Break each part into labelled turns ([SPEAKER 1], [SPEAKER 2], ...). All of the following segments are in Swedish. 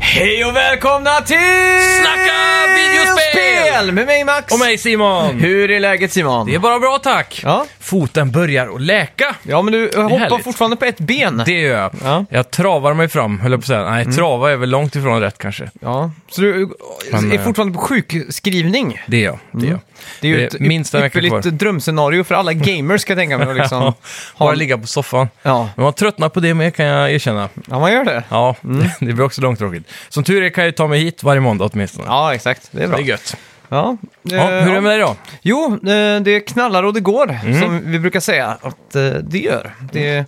[SPEAKER 1] Hej och välkomna till
[SPEAKER 2] Snacka videospel!
[SPEAKER 1] Spel Med mig Max!
[SPEAKER 2] Och mig Simon!
[SPEAKER 1] Hur är läget Simon?
[SPEAKER 2] Det är bara bra tack!
[SPEAKER 1] Ja.
[SPEAKER 2] Foten börjar att läka!
[SPEAKER 1] Ja men du hoppar
[SPEAKER 2] härligt.
[SPEAKER 1] fortfarande på ett ben.
[SPEAKER 2] Det gör jag.
[SPEAKER 1] Ja. Mm.
[SPEAKER 2] Jag travar mig fram, höll jag på att säga. Nej, trava är väl långt ifrån rätt kanske.
[SPEAKER 1] Ja. Så du
[SPEAKER 2] Men,
[SPEAKER 1] är
[SPEAKER 2] eh,
[SPEAKER 1] fortfarande på sjukskrivning.
[SPEAKER 2] Det är jag. Det
[SPEAKER 1] Mm.
[SPEAKER 2] är jag.
[SPEAKER 1] Det är ju
[SPEAKER 2] Det är
[SPEAKER 1] ett
[SPEAKER 2] minst en vecka
[SPEAKER 1] ypperligt
[SPEAKER 2] kvar.
[SPEAKER 1] drömscenario för alla gamers ska jag tänka mig. att Liksom,
[SPEAKER 2] Ja,
[SPEAKER 1] ha-
[SPEAKER 2] Bara ligga på soffan.
[SPEAKER 1] Ja.
[SPEAKER 2] Men man tröttnar på det med kan jag erkänna.
[SPEAKER 1] ja, man gör det.
[SPEAKER 2] Ja, det blir också långtråkigt. Som tur är kan jag ju ta mig hit varje måndag åtminstone.
[SPEAKER 1] Ja, exakt. Det är
[SPEAKER 2] Det
[SPEAKER 1] bra.
[SPEAKER 2] är gött.
[SPEAKER 1] Ja.
[SPEAKER 2] Ja,
[SPEAKER 1] Eh,
[SPEAKER 2] hur är det med Mm. dig då?
[SPEAKER 1] Jo, eh, det knallar och det går, som vi brukar säga att eh, det gör. Det...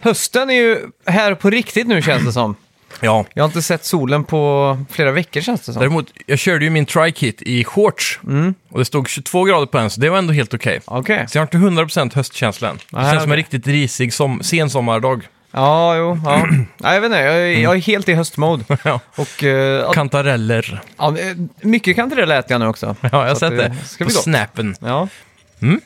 [SPEAKER 1] Hösten är ju här på riktigt nu känns det som.
[SPEAKER 2] Ja,
[SPEAKER 1] Jag har inte sett solen på flera veckor känns det som.
[SPEAKER 2] däremot, jag körde ju min trikit i shorts.
[SPEAKER 1] Mm.
[SPEAKER 2] Och det stod 22 grader på den, så det var ändå helt okej.
[SPEAKER 1] Okej.
[SPEAKER 2] Så jag har inte 100% höstkänslan. Det
[SPEAKER 1] Nej,
[SPEAKER 2] känns som
[SPEAKER 1] okej.
[SPEAKER 2] en riktigt risig som, sensommardag.
[SPEAKER 1] Ja, jo. Ja. Nej, jag vet inte, jag är, jag är helt i höstmode.
[SPEAKER 2] Ja.
[SPEAKER 1] Och eh,
[SPEAKER 2] Kantareller.
[SPEAKER 1] ja, eh, mycket kantareller äter jag nu också.
[SPEAKER 2] Ja, jag har
[SPEAKER 1] Så att
[SPEAKER 2] sett det.
[SPEAKER 1] Ska
[SPEAKER 2] På
[SPEAKER 1] bli gott.
[SPEAKER 2] snappen.
[SPEAKER 1] Ja.
[SPEAKER 2] Mm.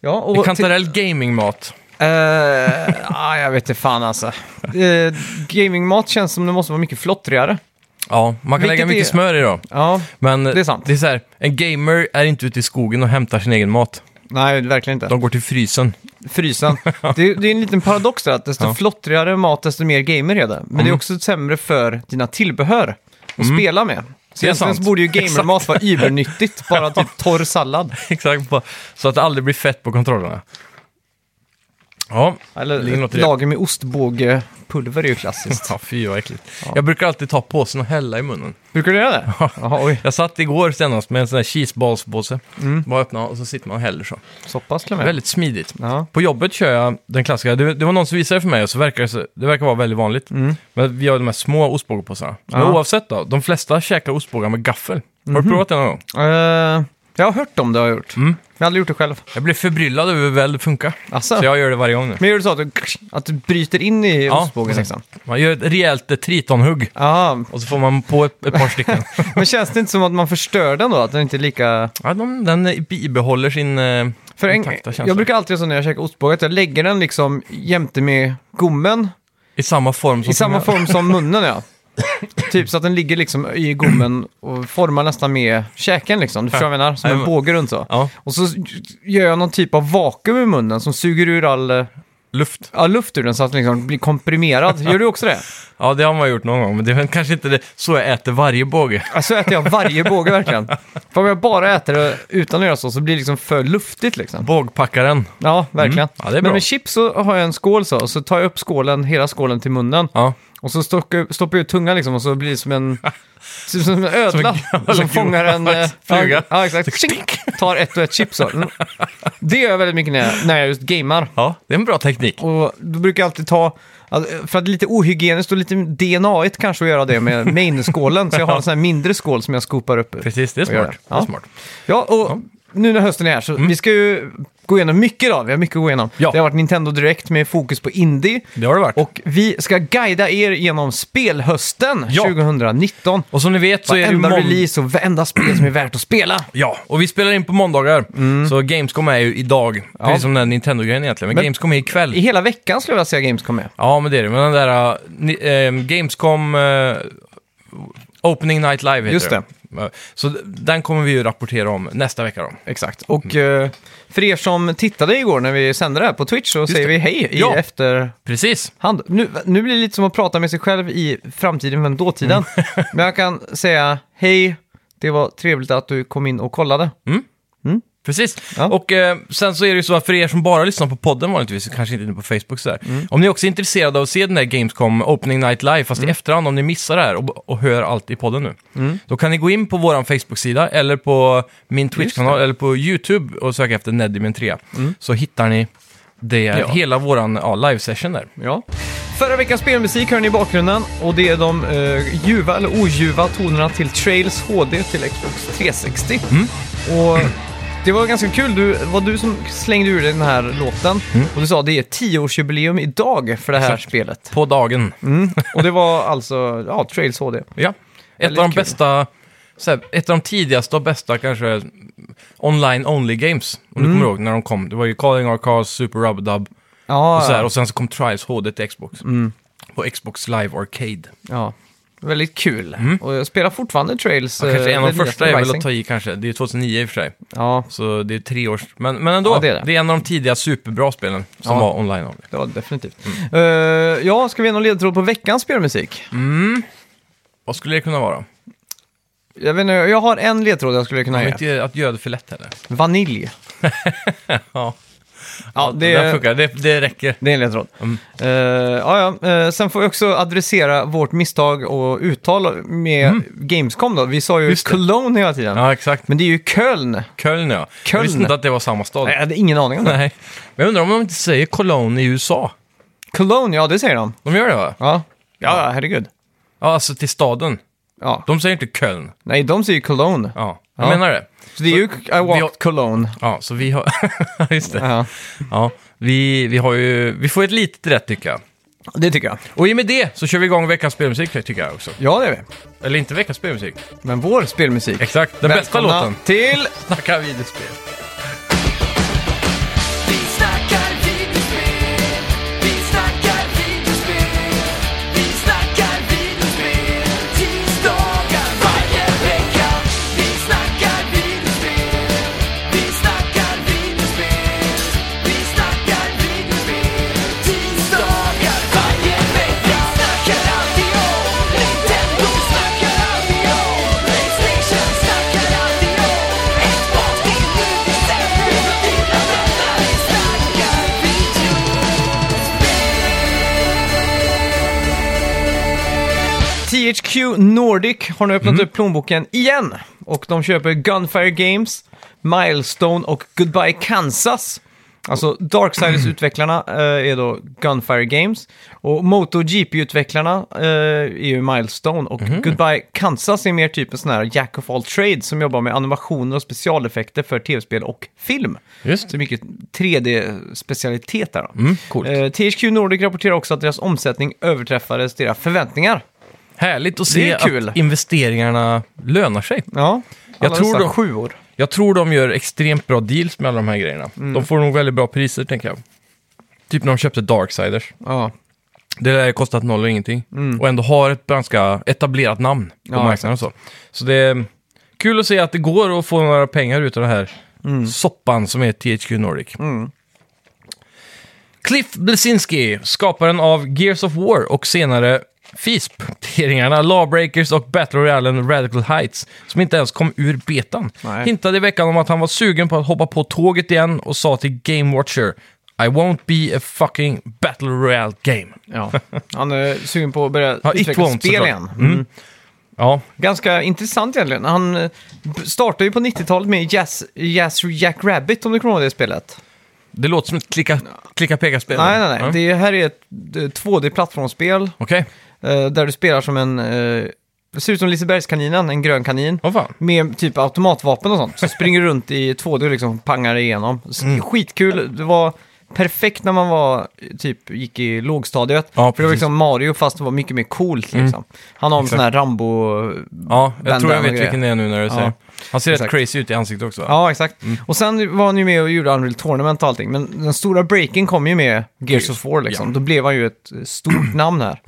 [SPEAKER 1] Ja,
[SPEAKER 2] Det är
[SPEAKER 1] och...
[SPEAKER 2] Kantarell gamingmat.
[SPEAKER 1] till- eh, ah, jag vet inte fan alltså. Eh, gamingmat känns som det måste vara mycket flottrigare.
[SPEAKER 2] Ja, man
[SPEAKER 1] Vilket
[SPEAKER 2] kan lägga mycket
[SPEAKER 1] är-
[SPEAKER 2] smör i då.
[SPEAKER 1] Ja,
[SPEAKER 2] Men
[SPEAKER 1] Det är sant.
[SPEAKER 2] Det är så här, en gamer är inte ute i skogen och hämtar sin egen mat.
[SPEAKER 1] nej verkligen inte.
[SPEAKER 2] De går till frysen.
[SPEAKER 1] frysen. Det, det är en liten paradox där, att desto
[SPEAKER 2] Ja. Mm.
[SPEAKER 1] flottrigare mat, desto mer gamer är det. Men det är också sämre för dina tillbehör att spela med. Så
[SPEAKER 2] Det är
[SPEAKER 1] egentligen så
[SPEAKER 2] sant.
[SPEAKER 1] borde ju gamermat vara übernyttigt, bara typ torr sallad.
[SPEAKER 2] Exakt. bara- Så att det aldrig blir fett på kontrollerna. Ja, ligger
[SPEAKER 1] Eller
[SPEAKER 2] något i
[SPEAKER 1] ett
[SPEAKER 2] det.
[SPEAKER 1] lager med ostbågepulver är ju klassiskt.
[SPEAKER 2] Ja, fy vad äckligt. Jag brukar alltid ta påsen och hälla i munnen.
[SPEAKER 1] Brukar du göra det? Jaha, oj.
[SPEAKER 2] Jag satt igår senast med en sån här cheeseballspåse. Bara öppna och så sitter man och häller så.
[SPEAKER 1] Så pass till och med.
[SPEAKER 2] Väldigt smidigt.
[SPEAKER 1] Ja.
[SPEAKER 2] På jobbet kör jag den klassiska, det, det var någon som visade för mig och så verkar det, så- det verkar vara väldigt vanligt. Men vi har de här små ostbågepåsarna. Men
[SPEAKER 1] Mm. Ja. Mhm.
[SPEAKER 2] oavsett då, de flesta käkar ostbågar med gaffel. Har du provat det någon gång?
[SPEAKER 1] Eh, jag har hört om det har jag gjort.
[SPEAKER 2] Mm.
[SPEAKER 1] Men jag har aldrig gjort det själv.
[SPEAKER 2] Jag blev förbryllad över hur väl det funkar.
[SPEAKER 1] Asså.
[SPEAKER 2] Så jag gör det varje gång nu.
[SPEAKER 1] Men gör du så att du, att du bryter in i
[SPEAKER 2] Ja,
[SPEAKER 1] ostbågen?
[SPEAKER 2] precis.
[SPEAKER 1] Liksom?
[SPEAKER 2] Man gör ett rejält eh, tritonhugg
[SPEAKER 1] Ja,
[SPEAKER 2] och så får man på ett, ett par stycken.
[SPEAKER 1] men känns det inte som att man förstör den då? Att den inte är lika...
[SPEAKER 2] ja, de, den eh, bibehåller sin... eh,
[SPEAKER 1] För en,
[SPEAKER 2] Kontakta känslan.
[SPEAKER 1] jag brukar alltid göra så när jag käkar ostbågar, att jag lägger den liksom jämte med gommen
[SPEAKER 2] I samma form som...
[SPEAKER 1] i samma form som munnen ja. typ så att den ligger liksom i gommen och formar nästan med käken liksom. Du förstår vad jag menar? Som en
[SPEAKER 2] Jajamän.
[SPEAKER 1] båge runt så.
[SPEAKER 2] Ja,
[SPEAKER 1] Och så gör jag någon typ av vakuum i munnen som suger ur all, eh,
[SPEAKER 2] luft.
[SPEAKER 1] all luft ur den så att den liksom blir komprimerad. Gör du också det?
[SPEAKER 2] Ja, det har man gjort någon gång, men det är väl kanske inte det, så jag äter varje båge.
[SPEAKER 1] Alltså äter jag varje båge verkligen. För om jag bara äter det utan att göra så, så blir det liksom för luftigt liksom.
[SPEAKER 2] Bågpackaren.
[SPEAKER 1] Ja, verkligen.
[SPEAKER 2] Mm. Ja, det är
[SPEAKER 1] Men
[SPEAKER 2] bra.
[SPEAKER 1] med chips så har jag en skål så, och så tar jag upp skålen, hela skålen till munnen.
[SPEAKER 2] Ja.
[SPEAKER 1] Och så stockar, stoppar jag ut tungan liksom och så blir det som en, som som en ödla
[SPEAKER 2] Som
[SPEAKER 1] som,
[SPEAKER 2] en gammal
[SPEAKER 1] fångar en
[SPEAKER 2] gammal
[SPEAKER 1] eh,
[SPEAKER 2] fluga.
[SPEAKER 1] Ja, exakt. Tjink! Tar ett och ett chips. så. Mm. Det gör jag väldigt mycket när jag, när jag just gamear.
[SPEAKER 2] ja, det är en bra teknik.
[SPEAKER 1] Och då brukar jag alltid ta, alltså, för att det är lite ohygieniskt och lite DNA-igt kanske att göra det med mainskålen. Så jag har en sån här mindre skål som jag skopar upp ur.
[SPEAKER 2] Precis, det är
[SPEAKER 1] Och gör
[SPEAKER 2] smart.
[SPEAKER 1] det. Ja.
[SPEAKER 2] Det är smart.
[SPEAKER 1] Ja, och nu när hösten är här så vi ska ju gå igenom mycket idag. Vi har mycket att gå igenom.
[SPEAKER 2] Mm. Ja.
[SPEAKER 1] Det har varit Nintendo Direct med fokus på indie.
[SPEAKER 2] Det har det varit.
[SPEAKER 1] Och vi ska guida er genom spelhösten
[SPEAKER 2] Ja.
[SPEAKER 1] 2019.
[SPEAKER 2] Och som ni vet så är det ju
[SPEAKER 1] Varenda
[SPEAKER 2] mån-
[SPEAKER 1] release och varenda spel som är värt att spela.
[SPEAKER 2] Ja, och vi spelar in på måndagar. Så Gamescom är ju idag. Precis som den här Nintendo-grejen egentligen. Men,
[SPEAKER 1] Mm. Men-
[SPEAKER 2] Gamescom är
[SPEAKER 1] I
[SPEAKER 2] ikväll.
[SPEAKER 1] hela veckan skulle jag vilja säga Gamescom med.
[SPEAKER 2] Ja, men det är det. Men den där eh, ni- eh, Gamescom eh, Opening Night Live heter
[SPEAKER 1] Just det.
[SPEAKER 2] Eh, Så d- den kommer vi ju rapportera om nästa vecka då.
[SPEAKER 1] Exakt. Och
[SPEAKER 2] Mm.
[SPEAKER 1] eh, för er som tittade igår när vi sände det här på Twitch så säger
[SPEAKER 2] det.
[SPEAKER 1] vi hej i
[SPEAKER 2] Ja.
[SPEAKER 1] efterhand.
[SPEAKER 2] Precis.
[SPEAKER 1] Nu, nu blir det lite som att prata med sig själv i framtiden men dåtiden.
[SPEAKER 2] Mm.
[SPEAKER 1] men jag kan säga hej, det var trevligt att du kom in och kollade.
[SPEAKER 2] Mm. Precis.
[SPEAKER 1] Ja.
[SPEAKER 2] Och eh, sen så är det ju så att för er som bara lyssnar på podden vanligtvis, kanske inte inne på Facebook sådär.
[SPEAKER 1] Mm.
[SPEAKER 2] Om ni också är intresserade av att se den här Gamescom Opening Night Live, fast
[SPEAKER 1] Mm.
[SPEAKER 2] i efterhand om ni missar det här och, och hör allt i podden nu. Då kan ni gå in på vår Facebook-sida eller på min Twitch-kanal eller på YouTube och söka efter Neddymin 3. Så hittar ni det,
[SPEAKER 1] Mm. Ja.
[SPEAKER 2] hela våran ja, live-session där.
[SPEAKER 1] Ja. Förra veckans spelmusik hör ni i bakgrunden och det är de eh, ljuva eller oljuva tonerna till Trails HD till Xbox 360.
[SPEAKER 2] Mm.
[SPEAKER 1] Och det var ganska kul, du, det var du som slängde ur dig den här låten och du sa det är 10-årsjubileum idag för det här
[SPEAKER 2] Mm. Exakt.
[SPEAKER 1] spelet.
[SPEAKER 2] På dagen.
[SPEAKER 1] Och det var alltså ja, Trails HD.
[SPEAKER 2] Ja. Ett av
[SPEAKER 1] Väldigt
[SPEAKER 2] de
[SPEAKER 1] kul.
[SPEAKER 2] bästa, så här, ett av de tidigaste och bästa kanske online-only games. Om
[SPEAKER 1] Mm.
[SPEAKER 2] du kommer ihåg när de kom. Det var ju Calling Our Cars, Super Rub Dub
[SPEAKER 1] Ja,
[SPEAKER 2] och så här.
[SPEAKER 1] ja. Mm.
[SPEAKER 2] Och sen så kom Trials HD till Xbox. På Xbox Live Arcade.
[SPEAKER 1] ja. Väldigt kul. Och jag spelar fortfarande Trails.
[SPEAKER 2] Ja, kanske en
[SPEAKER 1] eh,
[SPEAKER 2] av
[SPEAKER 1] det
[SPEAKER 2] de
[SPEAKER 1] nya
[SPEAKER 2] första är väl
[SPEAKER 1] Rising.
[SPEAKER 2] att ta i kanske. Det är 2009 i och för sig.
[SPEAKER 1] Ja,
[SPEAKER 2] Så det är tre års... Men, men ändå,
[SPEAKER 1] Ja,
[SPEAKER 2] det,
[SPEAKER 1] det
[SPEAKER 2] är
[SPEAKER 1] är det.
[SPEAKER 2] en av de tidiga superbra spelen som
[SPEAKER 1] Ja.
[SPEAKER 2] var online. only.
[SPEAKER 1] det var det definitivt. Eh, ja, ska vi ge någon ledtråd på veckans spelmusik?
[SPEAKER 2] Vad skulle det kunna vara?
[SPEAKER 1] Jag, vet inte, jag har en ledtråd jag skulle kunna
[SPEAKER 2] Nej.
[SPEAKER 1] ge.
[SPEAKER 2] Inte att göra det för lätt heller.
[SPEAKER 1] Vanilj.
[SPEAKER 2] Ja,
[SPEAKER 1] Ja,
[SPEAKER 2] det,
[SPEAKER 1] det,
[SPEAKER 2] där
[SPEAKER 1] är-
[SPEAKER 2] funkar. Det, det räcker.
[SPEAKER 1] det är en ledtråd.
[SPEAKER 2] Mm.
[SPEAKER 1] Eh, ja, ja. Eh, sen får vi också adressera vårt misstag och uttal med Gamescom. Då. Vi sa ju
[SPEAKER 2] Just det.
[SPEAKER 1] Cologne hela tiden.
[SPEAKER 2] Ja, exakt.
[SPEAKER 1] Men det är ju Köln.
[SPEAKER 2] Köln ja. Jag
[SPEAKER 1] Köln.
[SPEAKER 2] visste inte att det var samma stad.
[SPEAKER 1] Nej, jag
[SPEAKER 2] Nej.
[SPEAKER 1] hade ingen aning om det.
[SPEAKER 2] Men jag undrar om de inte säger Cologne i USA.
[SPEAKER 1] Cologne, ja det säger de.
[SPEAKER 2] De gör det va?
[SPEAKER 1] Ja, ja herregud.
[SPEAKER 2] Ja, alltså till staden.
[SPEAKER 1] Ja.
[SPEAKER 2] De säger inte Köln.
[SPEAKER 1] Nej, de säger Cologne.
[SPEAKER 2] Ja, jag
[SPEAKER 1] Ja.
[SPEAKER 2] menar det.
[SPEAKER 1] Så det är ju I
[SPEAKER 2] vi
[SPEAKER 1] walked
[SPEAKER 2] har-
[SPEAKER 1] Cologne.
[SPEAKER 2] Ja, så vi har... Just det.
[SPEAKER 1] Ja,
[SPEAKER 2] Ja, vi, vi har ju... Vi får ett litet rätt tycker jag.
[SPEAKER 1] det tycker jag.
[SPEAKER 2] Och i och med det så kör vi igång veckans spelmusik tycker jag också.
[SPEAKER 1] Ja, det är vi.
[SPEAKER 2] Eller inte veckans spelmusik.
[SPEAKER 1] Men vår spelmusik.
[SPEAKER 2] Exakt, den bästa
[SPEAKER 1] Välkomna
[SPEAKER 2] låten.
[SPEAKER 1] till...
[SPEAKER 2] Snacka videospel.
[SPEAKER 3] Vi snackar videospel, vi snackar videospel, vi snackar videospel, tisdagar varje vecka. Vi snackar videospel, vi snackar videospel, vi snackar videospel, tisdagar varje vecka. Vi snackar alltid om Nintendo, snackar alltid om Playstation, snackar alltid om Xbox, till nu december, dina vänner. Vi snackar video.
[SPEAKER 1] THQ Nordic har nu öppnat
[SPEAKER 2] Mm.
[SPEAKER 1] upp plånboken igen. Och de köper Gunfire Games, Milestone och Goodbye Kansas. Alltså Darksiders-utvecklarna eh, är då Gunfire Games. Och MotoGP-utvecklarna eh, är ju Milestone. Och
[SPEAKER 2] Mm.
[SPEAKER 1] Goodbye Kansas är mer typ en sån här Jack of All Trades som jobbar med animationer och specialeffekter för tv-spel och film.
[SPEAKER 2] Just Mm.
[SPEAKER 1] Så mycket 3D-specialitet där då.
[SPEAKER 2] Coolt.
[SPEAKER 1] Eh, THQ Nordic rapporterar också att deras omsättning överträffades deras förväntningar.
[SPEAKER 2] Härligt att se
[SPEAKER 1] är kul.
[SPEAKER 2] att investeringarna lönar sig.
[SPEAKER 1] Ja,
[SPEAKER 2] Jag tror
[SPEAKER 1] dessa
[SPEAKER 2] de-
[SPEAKER 1] sju år.
[SPEAKER 2] Jag tror de gör extremt bra deals med alla de här grejerna.
[SPEAKER 1] Mm.
[SPEAKER 2] De får nog väldigt bra priser, tänker jag. Typ när de köpte Darksiders.
[SPEAKER 1] Ja,
[SPEAKER 2] Det där har kostat noll och ingenting. Och ändå har ett ganska etablerat namn på
[SPEAKER 1] Mm. Ja,
[SPEAKER 2] marknaden och så. Så det är kul att se att det går att få några pengar ut av den här
[SPEAKER 1] Mm.
[SPEAKER 2] soppan som är THQ Nordic. Cliff Blesinski, skaparen av Gears of War och senare FISP-teringarna Lawbreakers och Battle Royalen Radical Heights, som inte ens kom ur betan,
[SPEAKER 1] Nej.
[SPEAKER 2] hintade i veckan om att han var sugen på att hoppa på tåget igen och sa till Game Watcher I won't be a fucking battle royale game.
[SPEAKER 1] ja. Han eh, är sugen på att börja
[SPEAKER 2] Ja, it
[SPEAKER 1] utveckla
[SPEAKER 2] won't,
[SPEAKER 1] spel
[SPEAKER 2] såklart. Mm.
[SPEAKER 1] igen. Mm.
[SPEAKER 2] Ja,
[SPEAKER 1] Ganska intressant egentligen. Han eh, b- startade ju på 90-talet med Jazz, Jazz Jack Rabbit, om du kommer ihåg det spelet.
[SPEAKER 2] det låter som ett klicka, klicka peka-spel.
[SPEAKER 1] Nej, nej, nej.
[SPEAKER 2] Ja.
[SPEAKER 1] Det här är ett eh, 2D-plattformsspel
[SPEAKER 2] Okej,
[SPEAKER 1] eh, där du spelar som en... Eh, det ser ut som Lisebergskaninen, en grön kanin.
[SPEAKER 2] vad fan.
[SPEAKER 1] Med typ automatvapen och sånt. Så springer du runt i 2D och liksom pangar igenom. Så
[SPEAKER 2] Mm.
[SPEAKER 1] det är Skitkul. Det var perfekt när man var, typ, gick i lågstadiet.
[SPEAKER 2] Ja,
[SPEAKER 1] För det var
[SPEAKER 2] precis. Mm.
[SPEAKER 1] liksom Mario fast det var mycket mer coolt liksom. Han har en sån här Rambo...
[SPEAKER 2] Ja, jag tror jag
[SPEAKER 1] Bandana
[SPEAKER 2] vet
[SPEAKER 1] grejer.
[SPEAKER 2] vilken det är nu när du säger. Han ser
[SPEAKER 1] Exakt.
[SPEAKER 2] rätt crazy ut i ansiktet också. va?
[SPEAKER 1] Ja, exakt.
[SPEAKER 2] Mm.
[SPEAKER 1] Och sen var han ju med och gjorde Unreal Tournament och allting. Men den stora breaken kom ju med Gears of War liksom.
[SPEAKER 2] Ja. Mm.
[SPEAKER 1] Då blev han ju ett stort namn här.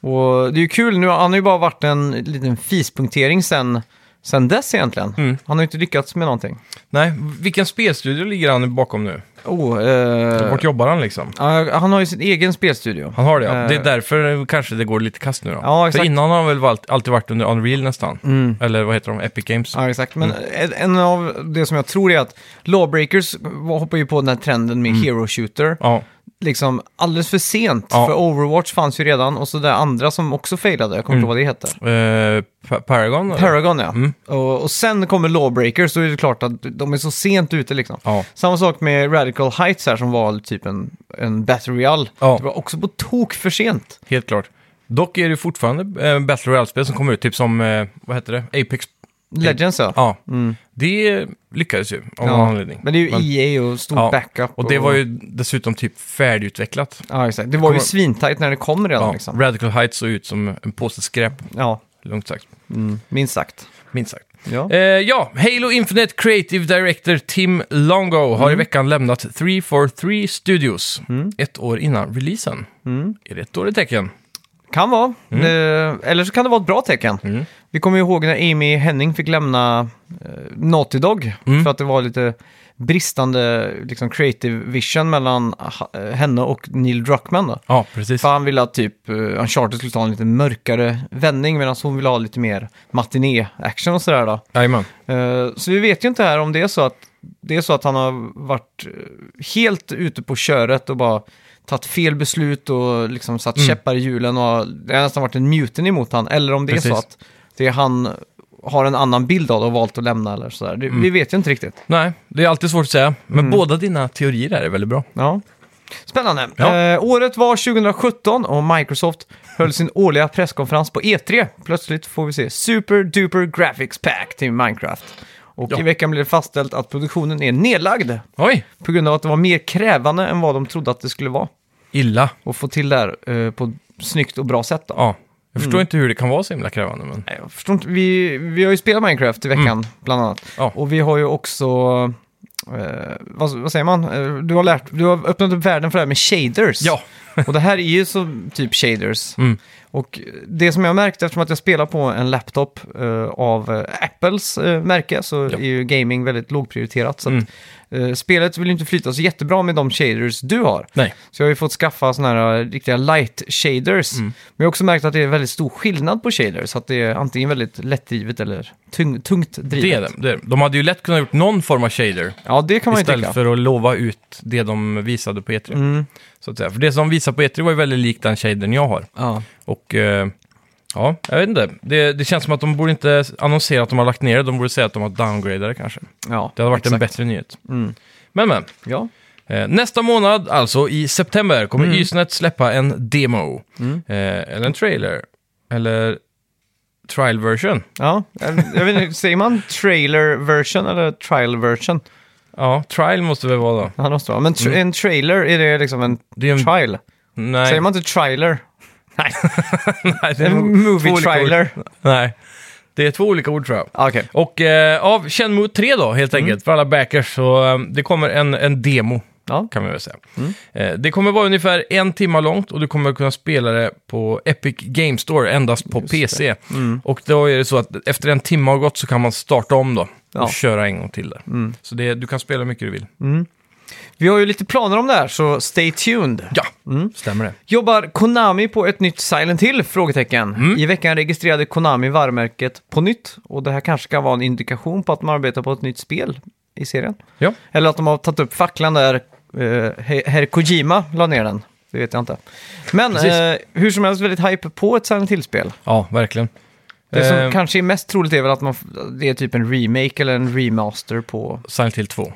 [SPEAKER 1] Och det är ju kul nu. Han har ju bara varit en liten fispunktering sen, sen dess egentligen.
[SPEAKER 2] Mm.
[SPEAKER 1] Han har ju inte lyckats med någonting.
[SPEAKER 2] Nej, vilken spelstudio ligger han bakom nu?
[SPEAKER 1] Oh, eh,
[SPEAKER 2] Vart jobbar han liksom?
[SPEAKER 1] Ja, han har ju sin egen spelstudio.
[SPEAKER 2] Han har det, ja.
[SPEAKER 1] Eh.
[SPEAKER 2] Det är därför kanske det går lite kast nu då.
[SPEAKER 1] Ja,
[SPEAKER 2] För
[SPEAKER 1] exakt. Mm.
[SPEAKER 2] innan har han väl valt- alltid varit under Unreal nästan. Eller vad heter de? Epic Games.
[SPEAKER 1] Ja, exakt. Men
[SPEAKER 2] Mm.
[SPEAKER 1] en- en av det som jag tror är att Lawbreakers hoppar ju på den här trenden med Hero Shooter.
[SPEAKER 2] Mm. Ja,
[SPEAKER 1] Liksom alldeles för sent,
[SPEAKER 2] Ja.
[SPEAKER 1] för Overwatch fanns ju redan och så där andra som också failade, jag kommer
[SPEAKER 2] Mm.
[SPEAKER 1] inte ihåg vad det heter.
[SPEAKER 2] eh, Pa- Paragon? eller?
[SPEAKER 1] Paragon ja.
[SPEAKER 2] Mm.
[SPEAKER 1] Och, och sen kommer Lawbreakers, då är det klart att de är så sent ute liksom.
[SPEAKER 2] Ja.
[SPEAKER 1] Samma sak med Radical Heights här som var typ en, en Battle Royale.
[SPEAKER 2] Ja.
[SPEAKER 1] Det var också på tok för sent.
[SPEAKER 2] Helt klart. Dock är det fortfarande eh, Battle Royale-spel som kommer ut, typ som, eh, vad heter det? Apex?
[SPEAKER 1] Legends ja.
[SPEAKER 2] Ja. Det lyckades ju, av någon anledning.
[SPEAKER 1] Men det är ju EA och stor
[SPEAKER 2] ja.
[SPEAKER 1] backup.
[SPEAKER 2] Och det var ju dessutom typ färdigutvecklat.
[SPEAKER 1] Ja, exakt. Det var
[SPEAKER 2] Kommer-
[SPEAKER 1] ju svintajt när det kom redan.
[SPEAKER 2] Ja.
[SPEAKER 1] Liksom.
[SPEAKER 2] Radical Heights såg ut som en påse skräp,
[SPEAKER 1] ja mm,
[SPEAKER 2] lugnt sagt.
[SPEAKER 1] minst sagt.
[SPEAKER 2] Minst sagt.
[SPEAKER 1] Ja.
[SPEAKER 2] Eh, ja, Halo Infinite Creative Director Tim Longo har i veckan lämnat Mm. 343 Studios. Ett år innan releasen. Är det ett dåligt tecken?
[SPEAKER 1] Kan vara.
[SPEAKER 2] Mm.
[SPEAKER 1] Eh, Eller så kan det vara ett bra tecken. Vi kommer ju ihåg när Amy Henning fick lämna eh, Naughty Dog
[SPEAKER 2] Mm.
[SPEAKER 1] för att det var lite bristande liksom, creative vision mellan ha- eh, henne och Neil Druckmann. Då.
[SPEAKER 2] Ja, precis.
[SPEAKER 1] För han ville att typ eh, Uncharted skulle ta en lite mörkare vändning medan hon ville ha lite mer matiné-action och sådär då.
[SPEAKER 2] Jajamän.
[SPEAKER 1] Eh, Så vi vet ju inte här om det är så att det är så att han har varit eh, helt ute på köret och bara tagit fel beslut och liksom satt käppar i hjulen och har- det har nästan varit en mutiny emot han. Eller om det är så
[SPEAKER 2] Precis.
[SPEAKER 1] att det är han har en annan bild av det och valt att lämna eller sådär. Det, Vi vet ju inte riktigt.
[SPEAKER 2] Nej, det är alltid svårt att säga. Men båda dina teorier här är väldigt bra.
[SPEAKER 1] Ja. Spännande.
[SPEAKER 2] Ja.
[SPEAKER 1] Eh, året var 2017 och Microsoft höll sin årliga presskonferens på E3. Plötsligt får vi se Super Duper Graphics Pack till Minecraft. Och
[SPEAKER 2] Ja.
[SPEAKER 1] i veckan blev det fastställt att produktionen är nedlagd
[SPEAKER 2] Oj!
[SPEAKER 1] på grund av att det var mer krävande än vad de trodde att det skulle vara.
[SPEAKER 2] Illa.
[SPEAKER 1] Och få till det här eh, på ett snyggt och bra sätt. Då.
[SPEAKER 2] Ja. Jag förstår inte hur det kan vara så himla krävande, men...
[SPEAKER 1] Nej, Jag förstår inte. Vi, vi har ju spelat Minecraft i veckan, bland annat.
[SPEAKER 2] Mm. Ja.
[SPEAKER 1] Och vi har ju också... Eh, vad, vad säger man? Eh, Du har, lärt, du har öppnat upp världen för det här med shaders.
[SPEAKER 2] Ja.
[SPEAKER 1] och det här är ju så typ shaders.
[SPEAKER 2] Mm.
[SPEAKER 1] Och det som jag har märkt, eftersom att jag spelar på en laptop eh, av eh, Apples eh, märke, så
[SPEAKER 2] Ja.
[SPEAKER 1] är ju gaming väldigt lågprioriterat. Så
[SPEAKER 2] Mm.
[SPEAKER 1] att, eh, spelet vill ju inte flyta så jättebra med de shaders du har.
[SPEAKER 2] Nej.
[SPEAKER 1] Så jag har ju fått skaffa såna här eh, riktiga light shaders.
[SPEAKER 2] Mm.
[SPEAKER 1] Men jag har också märkt att det är väldigt stor skillnad på shaders. Så att det är antingen väldigt lättdrivet eller tung, tungt drivet.
[SPEAKER 2] Det är det. det. är det. De hade ju lätt kunnat gjort någon form av shader.
[SPEAKER 1] Ja, det kan man ju
[SPEAKER 2] Istället
[SPEAKER 1] tycka.
[SPEAKER 2] för att lova ut det de visade på E3.
[SPEAKER 1] Mm.
[SPEAKER 2] Så att säga. För det som visade på E3 var ju väldigt likt den shadern jag har.
[SPEAKER 1] Ja.
[SPEAKER 2] Och eh, ja, jag vet inte. Det, det känns som att de borde inte annonsera att de har lagt ner det. De borde säga att de har downgradat det kanske.
[SPEAKER 1] ja,
[SPEAKER 2] Det hade varit en
[SPEAKER 1] exakt.
[SPEAKER 2] bättre nyhet.
[SPEAKER 1] Mm.
[SPEAKER 2] Men men.
[SPEAKER 1] Ja.
[SPEAKER 2] Eh, nästa månad, alltså i september, kommer Ysnet släppa en demo.
[SPEAKER 1] Mm.
[SPEAKER 2] Eh, eller en trailer. Eller trial version.
[SPEAKER 1] ja, jag jag vet inte, säger man trailer version eller trial version?
[SPEAKER 2] Ja, trial måste det väl vara då.
[SPEAKER 1] Ja, det måste vara. Men tra- en trailer, är det liksom en
[SPEAKER 2] Det är en-
[SPEAKER 1] trial?
[SPEAKER 2] Mm. Nej,
[SPEAKER 1] Säger man inte trailer? Nej,
[SPEAKER 2] nej, det är nog
[SPEAKER 1] en movie
[SPEAKER 2] två olika ord.
[SPEAKER 1] trailer.
[SPEAKER 2] Nej, det är två olika ord tror jag.
[SPEAKER 1] Ah, Okej.
[SPEAKER 2] Och eh, av Shenmue 3 då,
[SPEAKER 1] Mm.
[SPEAKER 2] helt enkelt, för alla backers. Så eh, det kommer en, en demo,
[SPEAKER 1] Ja.
[SPEAKER 2] kan man väl säga.
[SPEAKER 1] Mm.
[SPEAKER 2] Eh, det kommer vara ungefär en timme långt och du kommer kunna spela det på Epic Game Store, endast på PC.
[SPEAKER 1] Mm.
[SPEAKER 2] Och då är det så att efter en timme har gått så kan man starta om då.
[SPEAKER 1] Ja. Mm.
[SPEAKER 2] Och köra en gång till där. Så det, du kan spela hur mycket du vill.
[SPEAKER 1] Vi har ju lite planer om det här, så stay tuned.
[SPEAKER 2] Ja,
[SPEAKER 1] Mm.
[SPEAKER 2] stämmer det.
[SPEAKER 1] Jobbar Konami på ett nytt Silent Hill? Frågetecken.
[SPEAKER 2] Mm.
[SPEAKER 1] I veckan registrerade Konami varumärket på nytt och det här kanske kan vara en indikation på att de arbetar på ett nytt spel i serien.
[SPEAKER 2] Ja,
[SPEAKER 1] Eller att de har tagit upp facklan där eh, He- Herr Kojima la ner den. Det vet jag inte. Men
[SPEAKER 2] Precis.
[SPEAKER 1] eh, hur som helst väldigt hype på ett Silent Hill-spel.
[SPEAKER 2] ja verkligen.
[SPEAKER 1] Det som
[SPEAKER 2] Eh,
[SPEAKER 1] kanske är mest troligt är väl att man, f- det är typ en remake eller en remaster på
[SPEAKER 2] Silent Hill 2.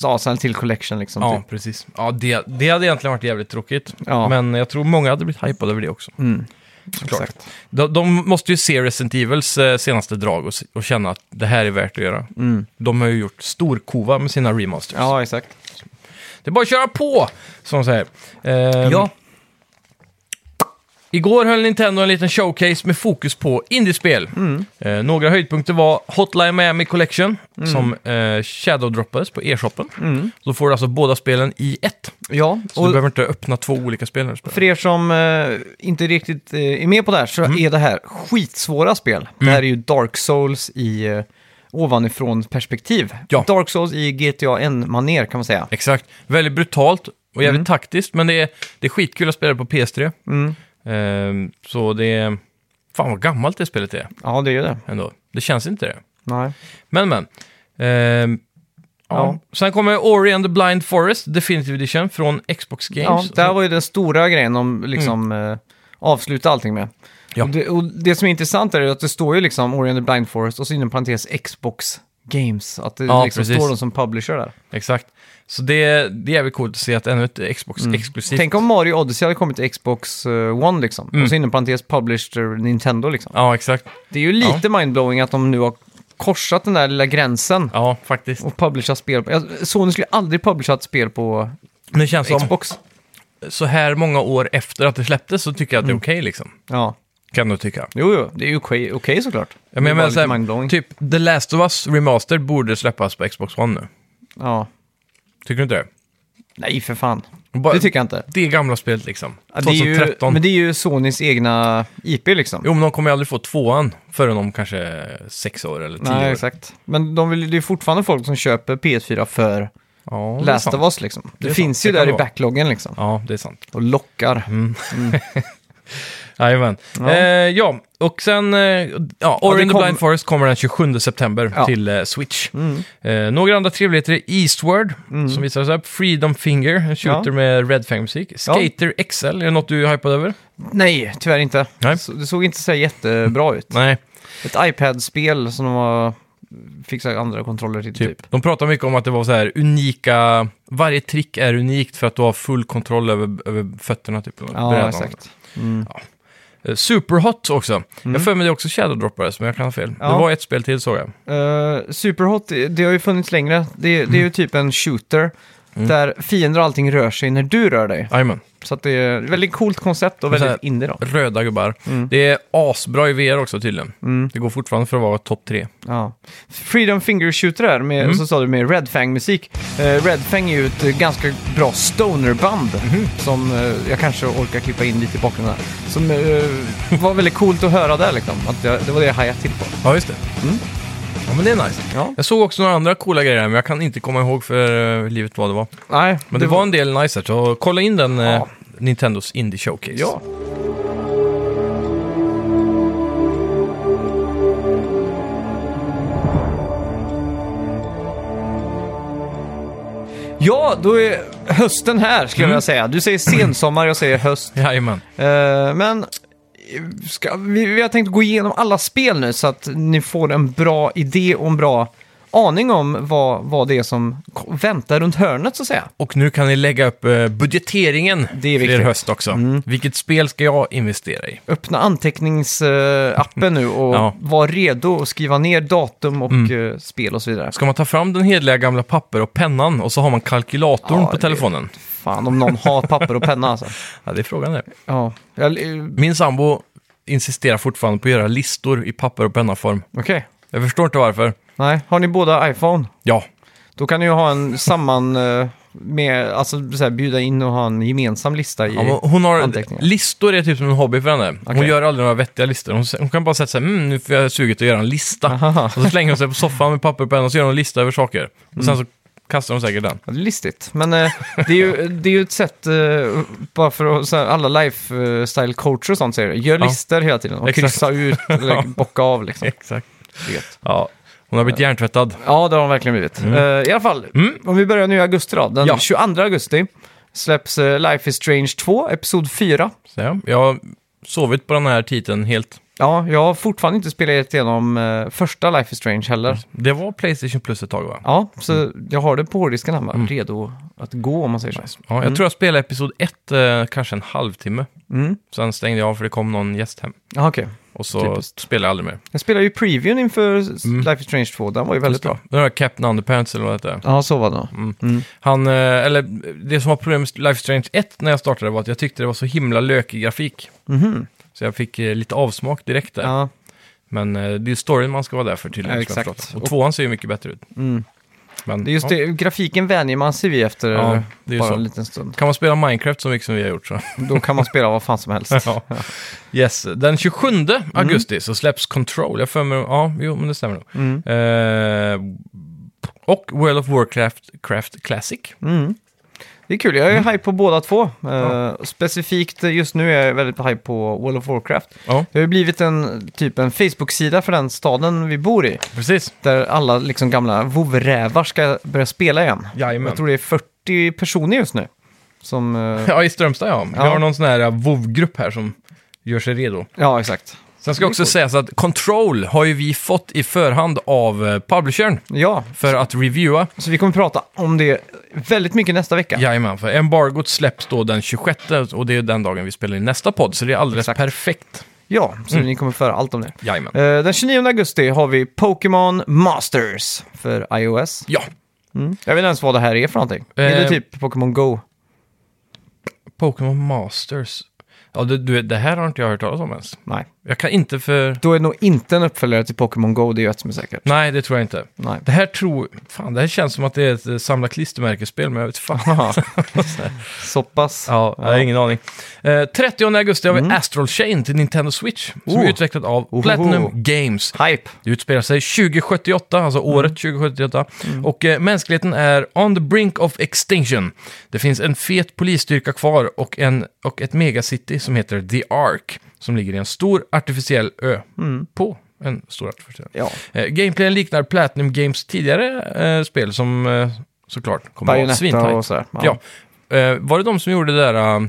[SPEAKER 1] ja, Silent Hill Collection liksom.
[SPEAKER 2] Ja,
[SPEAKER 1] Typ.
[SPEAKER 2] precis. Ja, det, det hade egentligen varit jävligt tråkigt.
[SPEAKER 1] Ja. Mm.
[SPEAKER 2] Men jag tror många hade blivit hypade över det också. Såklart.
[SPEAKER 1] typ. Exakt.
[SPEAKER 2] De, de måste ju se Resident Evils eh, senaste drag och, s- och känna att det här är värt att göra. De har ju gjort storkova med sina remasters.
[SPEAKER 1] Mm. Ja, exakt.
[SPEAKER 2] Det är bara att köra på, som de säger. Ehm,
[SPEAKER 1] Ja.
[SPEAKER 2] Igår höll Nintendo en liten showcase med fokus på indiespel.
[SPEAKER 1] Mm.
[SPEAKER 2] Eh, några höjdpunkter var Hotline Miami Collection,
[SPEAKER 1] Mm.
[SPEAKER 2] som eh, shadow-droppades på e-shoppen. Då får du alltså båda spelen i ett.
[SPEAKER 1] Ja,
[SPEAKER 2] Så du behöver inte öppna två olika spel när du spelar.
[SPEAKER 1] För er som eh, inte riktigt eh, är med på det här så
[SPEAKER 2] Mm.
[SPEAKER 1] är det här skitsvåra spel. Det här är ju Dark Souls i eh, ovanifrån perspektiv.
[SPEAKER 2] Ja.
[SPEAKER 1] Dark Souls i GTA n maner kan man säga.
[SPEAKER 2] Exakt. Väldigt brutalt och jävligt
[SPEAKER 1] Mm.
[SPEAKER 2] taktiskt, men det är, det är skitkul att spela det på PS3. Ehm, så det är... Fan vad gammalt det spelet är
[SPEAKER 1] Ja, det är ju det.
[SPEAKER 2] ändå. Det känns inte det.
[SPEAKER 1] Nej.
[SPEAKER 2] Men, men. Ehm, ja.
[SPEAKER 1] Ja.
[SPEAKER 2] Sen kommer Ori and the Blind Forest Definitive Edition från Xbox
[SPEAKER 1] Ja,
[SPEAKER 2] Games.
[SPEAKER 1] det här var ju den stora grejen de liksom eh, avslutade allting med.
[SPEAKER 2] Mm. Ja.
[SPEAKER 1] Och, det, och det som är intressant är ju att det står ju liksom Orient and Blind Forest och så inom parentes Xbox Games. Att det
[SPEAKER 2] Ja,
[SPEAKER 1] liksom
[SPEAKER 2] precis.
[SPEAKER 1] står de som publisher där.
[SPEAKER 2] Exakt. Så det, det är jävligt coolt att se att ännu ett Xbox-exklusivt.
[SPEAKER 1] Mm. Tänk om Mario Odyssey hade kommit till Xbox eh, One liksom.
[SPEAKER 2] Mm.
[SPEAKER 1] Och så inom parentes publisher Nintendo liksom.
[SPEAKER 2] Ja, exakt.
[SPEAKER 1] Det är ju lite mindblowing att de nu har korsat den där lilla gränsen
[SPEAKER 2] Ja, faktiskt.
[SPEAKER 1] och publishat spel. På... Jag- Sony skulle aldrig publisha ett spel på
[SPEAKER 2] Men det känns som,
[SPEAKER 1] Xbox.
[SPEAKER 2] så här många år efter att det släpptes så tycker jag
[SPEAKER 1] Mm.
[SPEAKER 2] att det är okej liksom.
[SPEAKER 1] Ja,
[SPEAKER 2] Kan du tycka.
[SPEAKER 1] jo, jo, det är ju okej okej såklart.
[SPEAKER 2] Ja, men
[SPEAKER 1] Det
[SPEAKER 2] jag
[SPEAKER 1] är
[SPEAKER 2] menar
[SPEAKER 1] bara
[SPEAKER 2] så
[SPEAKER 1] lite mindblowing.
[SPEAKER 2] här, typ The Last of Us Remastered borde släppas på Xbox One nu.
[SPEAKER 1] Ja.
[SPEAKER 2] Tycker du inte det?
[SPEAKER 1] Nej, för fan.
[SPEAKER 2] Bara
[SPEAKER 1] Det tycker jag inte.
[SPEAKER 2] det gamla spelet liksom.
[SPEAKER 1] Ja, Det är ju,
[SPEAKER 2] 2013.
[SPEAKER 1] men det är ju Sonys egna IP liksom.
[SPEAKER 2] Jo, men de kommer ju aldrig få tvåan förrän om kanske sex år eller tio
[SPEAKER 1] Nej,
[SPEAKER 2] år.
[SPEAKER 1] exakt. Men de vill, det är ju fortfarande folk som köper PS4 för
[SPEAKER 2] Ja, det är
[SPEAKER 1] Last
[SPEAKER 2] sant.
[SPEAKER 1] of Us liksom. Det,
[SPEAKER 2] är sant.
[SPEAKER 1] finns
[SPEAKER 2] Det
[SPEAKER 1] ju
[SPEAKER 2] kan
[SPEAKER 1] där
[SPEAKER 2] det
[SPEAKER 1] i
[SPEAKER 2] vara. Mm.
[SPEAKER 1] backloggen liksom.
[SPEAKER 2] Ja, det är sant.
[SPEAKER 1] Och lockar.
[SPEAKER 2] Jajamän.
[SPEAKER 1] Ja.
[SPEAKER 2] Ja. Eh, ja, och sen... Eh, ja,
[SPEAKER 1] det
[SPEAKER 2] Ori and the
[SPEAKER 1] kom-
[SPEAKER 2] Blind Forest kommer den 27 september
[SPEAKER 1] Ja.
[SPEAKER 2] till eh, Switch.
[SPEAKER 1] Mm.
[SPEAKER 2] Eh, några andra trevligheter är Eastward, som visades upp. Freedom Finger, en shooter
[SPEAKER 1] Ja.
[SPEAKER 2] med Red Fang-musik. Skater XL, är det något du är hypad över?
[SPEAKER 1] Nej, tyvärr inte.
[SPEAKER 2] Nej.
[SPEAKER 1] Så, det såg inte så här jättebra ut.
[SPEAKER 2] Nej,
[SPEAKER 1] Ett iPad-spel som de har fixat andra kontroller till
[SPEAKER 2] typ.
[SPEAKER 1] typ.
[SPEAKER 2] De pratar mycket om att det var så här unika... Varje trick är unikt för att du har full kontroll över, över fötterna, typ.
[SPEAKER 1] Ja,
[SPEAKER 2] Brädan.
[SPEAKER 1] exakt. Mm.
[SPEAKER 2] Eh, Superhot också. Jag för mig det också Shadow Droppers, men jag kan ha fel.
[SPEAKER 1] Ja.
[SPEAKER 2] Det var ett spel till såg jag.
[SPEAKER 1] Eh, Superhot, det har ju funnits längre. Det, det är
[SPEAKER 2] Mm.
[SPEAKER 1] ju typ en shooter. Där fiender och allting rör sig när du rör dig.
[SPEAKER 2] Jajamän.
[SPEAKER 1] Så att det är ett väldigt coolt koncept och
[SPEAKER 2] Men så
[SPEAKER 1] väldigt
[SPEAKER 2] här-
[SPEAKER 1] indie då.
[SPEAKER 2] Röda gubbar.
[SPEAKER 1] Mm.
[SPEAKER 2] Det är asbra i VR också tydligen. Det går fortfarande för att vara topp tre.
[SPEAKER 1] Ja. Freedom Finger Shooter där,
[SPEAKER 2] Mm.
[SPEAKER 1] med, så sa du med Red Fang-musik. Eh, Red Fang är ju ett eh, ganska bra stonerband
[SPEAKER 2] Mhm.
[SPEAKER 1] som eh, jag kanske orkar klippa in lite i bakgrunden här. Som eh, var väldigt coolt att höra där liksom. Att det, det var det jag hajade till på.
[SPEAKER 2] Ja, just det. Ja, men det är nice.
[SPEAKER 1] Mm. Ja.
[SPEAKER 2] Jag såg också några andra coola grejer här, men jag kan inte komma ihåg för eh, livet vad det var.
[SPEAKER 1] Nej,
[SPEAKER 2] Men det, var en del nice här, så kolla in den eh,
[SPEAKER 1] Ja.
[SPEAKER 2] Nintendos Indie Showcase.
[SPEAKER 1] Ja. Ja, då är hösten här skulle jag säga. Du säger sensommar, jag säger höst.
[SPEAKER 2] Jajamän.
[SPEAKER 1] Eh, men eh, ska, vi, vi har tänkt gå igenom alla spel nu så att ni får en bra idé och en bra aning om vad, vad det är som ko- väntar runt hörnet så att säga.
[SPEAKER 2] Och nu kan ni lägga upp eh, budgeteringen
[SPEAKER 1] Det är
[SPEAKER 2] för er
[SPEAKER 1] viktigt. Mm.
[SPEAKER 2] höst också. Vilket spel ska jag investera i?
[SPEAKER 1] Öppna anteckningsappen nu och
[SPEAKER 2] Ja. Mm.
[SPEAKER 1] var redo att skriva ner datum och eh, spel och så vidare.
[SPEAKER 2] Ska man ta fram den hedliga gamla papper och pennan och så har man kalkylatorn
[SPEAKER 1] Ja,
[SPEAKER 2] på
[SPEAKER 1] det-
[SPEAKER 2] telefonen?
[SPEAKER 1] Fan om någon har papper och penna alltså.
[SPEAKER 2] Ja, det är frågan det.
[SPEAKER 1] Ja, jag- eh,
[SPEAKER 2] Min sambo insisterar fortfarande på att göra listor i papper och pennaform.
[SPEAKER 1] okej.
[SPEAKER 2] Jag förstår inte varför.
[SPEAKER 1] Nej, har ni båda iPhone?
[SPEAKER 2] Ja,
[SPEAKER 1] Då kan ni ju ha en samman... eh, Med, alltså så här, bjuda in och ha en gemensam lista i
[SPEAKER 2] ja men hon har
[SPEAKER 1] anteckningar.
[SPEAKER 2] listor är typ som en hobby för henne. Hon
[SPEAKER 1] Okej.
[SPEAKER 2] gör aldrig några vettiga listor. Hon, hon kan bara säga så här, mm, nu får jag suget att göra en lista.
[SPEAKER 1] Aha.
[SPEAKER 2] Och så slänger hon sig på soffan med papper och penna och så gör hon en lista över saker. Och
[SPEAKER 1] Mm.
[SPEAKER 2] sen så kastar hon säkert den.
[SPEAKER 1] Ja, det är listigt. Men eh, det, är ju, det är ju ett sätt, eh, bara för att, så här, alla lifestyle coacher och sånt säger det. Gör
[SPEAKER 2] Ja.
[SPEAKER 1] listor hela tiden och
[SPEAKER 2] Exakt.
[SPEAKER 1] kryssa ut eller bocka av liksom.
[SPEAKER 2] Exakt.
[SPEAKER 1] Det är gött.
[SPEAKER 2] Ja, hon har blivit hjärntvättad.
[SPEAKER 1] Ja, det har de verkligen blivit. Eh, I alla fall, om vi börjar nu i augusti då. Den
[SPEAKER 2] Mm. Ja.
[SPEAKER 1] 22 augusti släpps eh, Life is Strange 2, episod 4.
[SPEAKER 2] Så ja, jag har sovit på den här titeln helt.
[SPEAKER 1] Ja, jag har fortfarande inte spelat igenom eh, första Life is Strange heller.
[SPEAKER 2] Det var Playstation Plus ett tag va?
[SPEAKER 1] Ja, så
[SPEAKER 2] Mm.
[SPEAKER 1] jag har det på hårddisken här, va? redo att gå om man säger så.
[SPEAKER 2] Ja, jag tror jag spelade episod ett eh, kanske en halvtimme.
[SPEAKER 1] Mm.
[SPEAKER 2] Sen stängde jag av för det kom någon gäst hem.
[SPEAKER 1] Ja, okej.
[SPEAKER 2] Och så spelade jag aldrig mer.
[SPEAKER 1] Jag spelade ju previewn inför s-
[SPEAKER 2] Mm.
[SPEAKER 1] Life is Strange 2, den var ju väldigt bra.
[SPEAKER 2] Den där Captain Underpants eller vad det heter.
[SPEAKER 1] Ja, så var det nog.
[SPEAKER 2] Han, eh, eller det som var problemet med Life is Strange 1 när jag startade var att jag tyckte det var så himla lökig grafik. Så jag fick eh, lite avsmak direkt Mm. där.
[SPEAKER 1] Mhm. Ja,
[SPEAKER 2] Men eh, det är storyn man ska vara där för tydligen.
[SPEAKER 1] Ja,
[SPEAKER 2] ska jag
[SPEAKER 1] exakt.
[SPEAKER 2] förstå. Och tvåan ser ju mycket bättre ut. Men,
[SPEAKER 1] mm. det är just
[SPEAKER 2] ja.
[SPEAKER 1] det. Grafiken vänjer man sig vid efter
[SPEAKER 2] Ja, det är ju
[SPEAKER 1] bara
[SPEAKER 2] så.
[SPEAKER 1] en liten stund.
[SPEAKER 2] Kan man spela Minecraft så mycket som vi har gjort så.
[SPEAKER 1] Då kan man spela vad fan som helst.
[SPEAKER 2] ja. Yes, den 27
[SPEAKER 1] Mm.
[SPEAKER 2] augusti så släpps Control. Jag för mig, ja, jo, men det stämmer nog.
[SPEAKER 1] Mm.
[SPEAKER 2] Eh, och World of Warcraft Craft Classic.
[SPEAKER 1] Mm. Det är kul, jag är
[SPEAKER 2] Mm.
[SPEAKER 1] hype på båda två. Eh, specifikt eh, just nu är jag väldigt hype på World of Warcraft.
[SPEAKER 2] Ja,
[SPEAKER 1] Det har ju blivit en typ en Facebook-sida för den staden vi bor i.
[SPEAKER 2] precis.
[SPEAKER 1] Där alla liksom gamla vovrävar ska börja spela igen.
[SPEAKER 2] Jajamän.
[SPEAKER 1] Jag tror det är 40 personer just nu. Som, eh,
[SPEAKER 2] Ja, i Strömstad ja. Vi
[SPEAKER 1] Ja.
[SPEAKER 2] har någon sån här VOV-grupp här som gör sig redo.
[SPEAKER 1] ja, exakt.
[SPEAKER 2] Sen ska också sägas att Control har ju vi fått i förhand av eh, publishern
[SPEAKER 1] Ja,
[SPEAKER 2] för att reviewa.
[SPEAKER 1] så vi kommer prata om det väldigt mycket nästa vecka.
[SPEAKER 2] Jajamän, för embargot släpps då den 26 och det är den dagen vi spelar in nästa podd, så det är alldeles
[SPEAKER 1] Exakt.
[SPEAKER 2] perfekt.
[SPEAKER 1] Ja, så
[SPEAKER 2] Mm.
[SPEAKER 1] ni kommer föra allt om det.
[SPEAKER 2] Jajamän.
[SPEAKER 1] Eh, Den 29 augusti har vi Pokémon Masters för iOS.
[SPEAKER 2] Ja,
[SPEAKER 1] Jag vet inte ens vad det här är för någonting. Är det
[SPEAKER 2] Mm. Eh,
[SPEAKER 1] typ Pokémon Go?
[SPEAKER 2] Pokémon Masters. Ja, det, du, det här har inte jag hört talas om ens.
[SPEAKER 1] Nej.
[SPEAKER 2] Jag kan inte för...
[SPEAKER 1] Då är det nog inte en uppföljare till Pokémon Go, det är ju ett som är säkert.
[SPEAKER 2] Nej, det tror jag inte.
[SPEAKER 1] Nej.
[SPEAKER 2] Det här tror... Fan, det här känns som att det är ett eh, samla klistermärkesspel, men jag vet fan.
[SPEAKER 1] Så pass.
[SPEAKER 2] Ja, jag har ingen aning. Mm. Eh, 30 augusti har vi Astral Chain till Nintendo Switch, som
[SPEAKER 1] Oh.
[SPEAKER 2] är utvecklat av
[SPEAKER 1] Ohoho.
[SPEAKER 2] Platinum Games.
[SPEAKER 1] Hype.
[SPEAKER 2] Det utspelar sig 2078, alltså
[SPEAKER 1] Mm.
[SPEAKER 2] året 2078. Och eh, mänskligheten är on the brink of extinction. Det finns en fet polisstyrka kvar och, en, och ett megacity som heter The Ark. Som ligger i en stor artificiell ö.
[SPEAKER 1] Mm.
[SPEAKER 2] På en stor artificiell ö.
[SPEAKER 1] Ja.
[SPEAKER 2] Eh, gameplayen liknar Platinum Games tidigare eh, spel som eh, såklart kommer att vara
[SPEAKER 1] Bayonetta
[SPEAKER 2] svintajt.
[SPEAKER 1] och sådär.
[SPEAKER 2] Ja. Eh, var det de som gjorde det där... eh,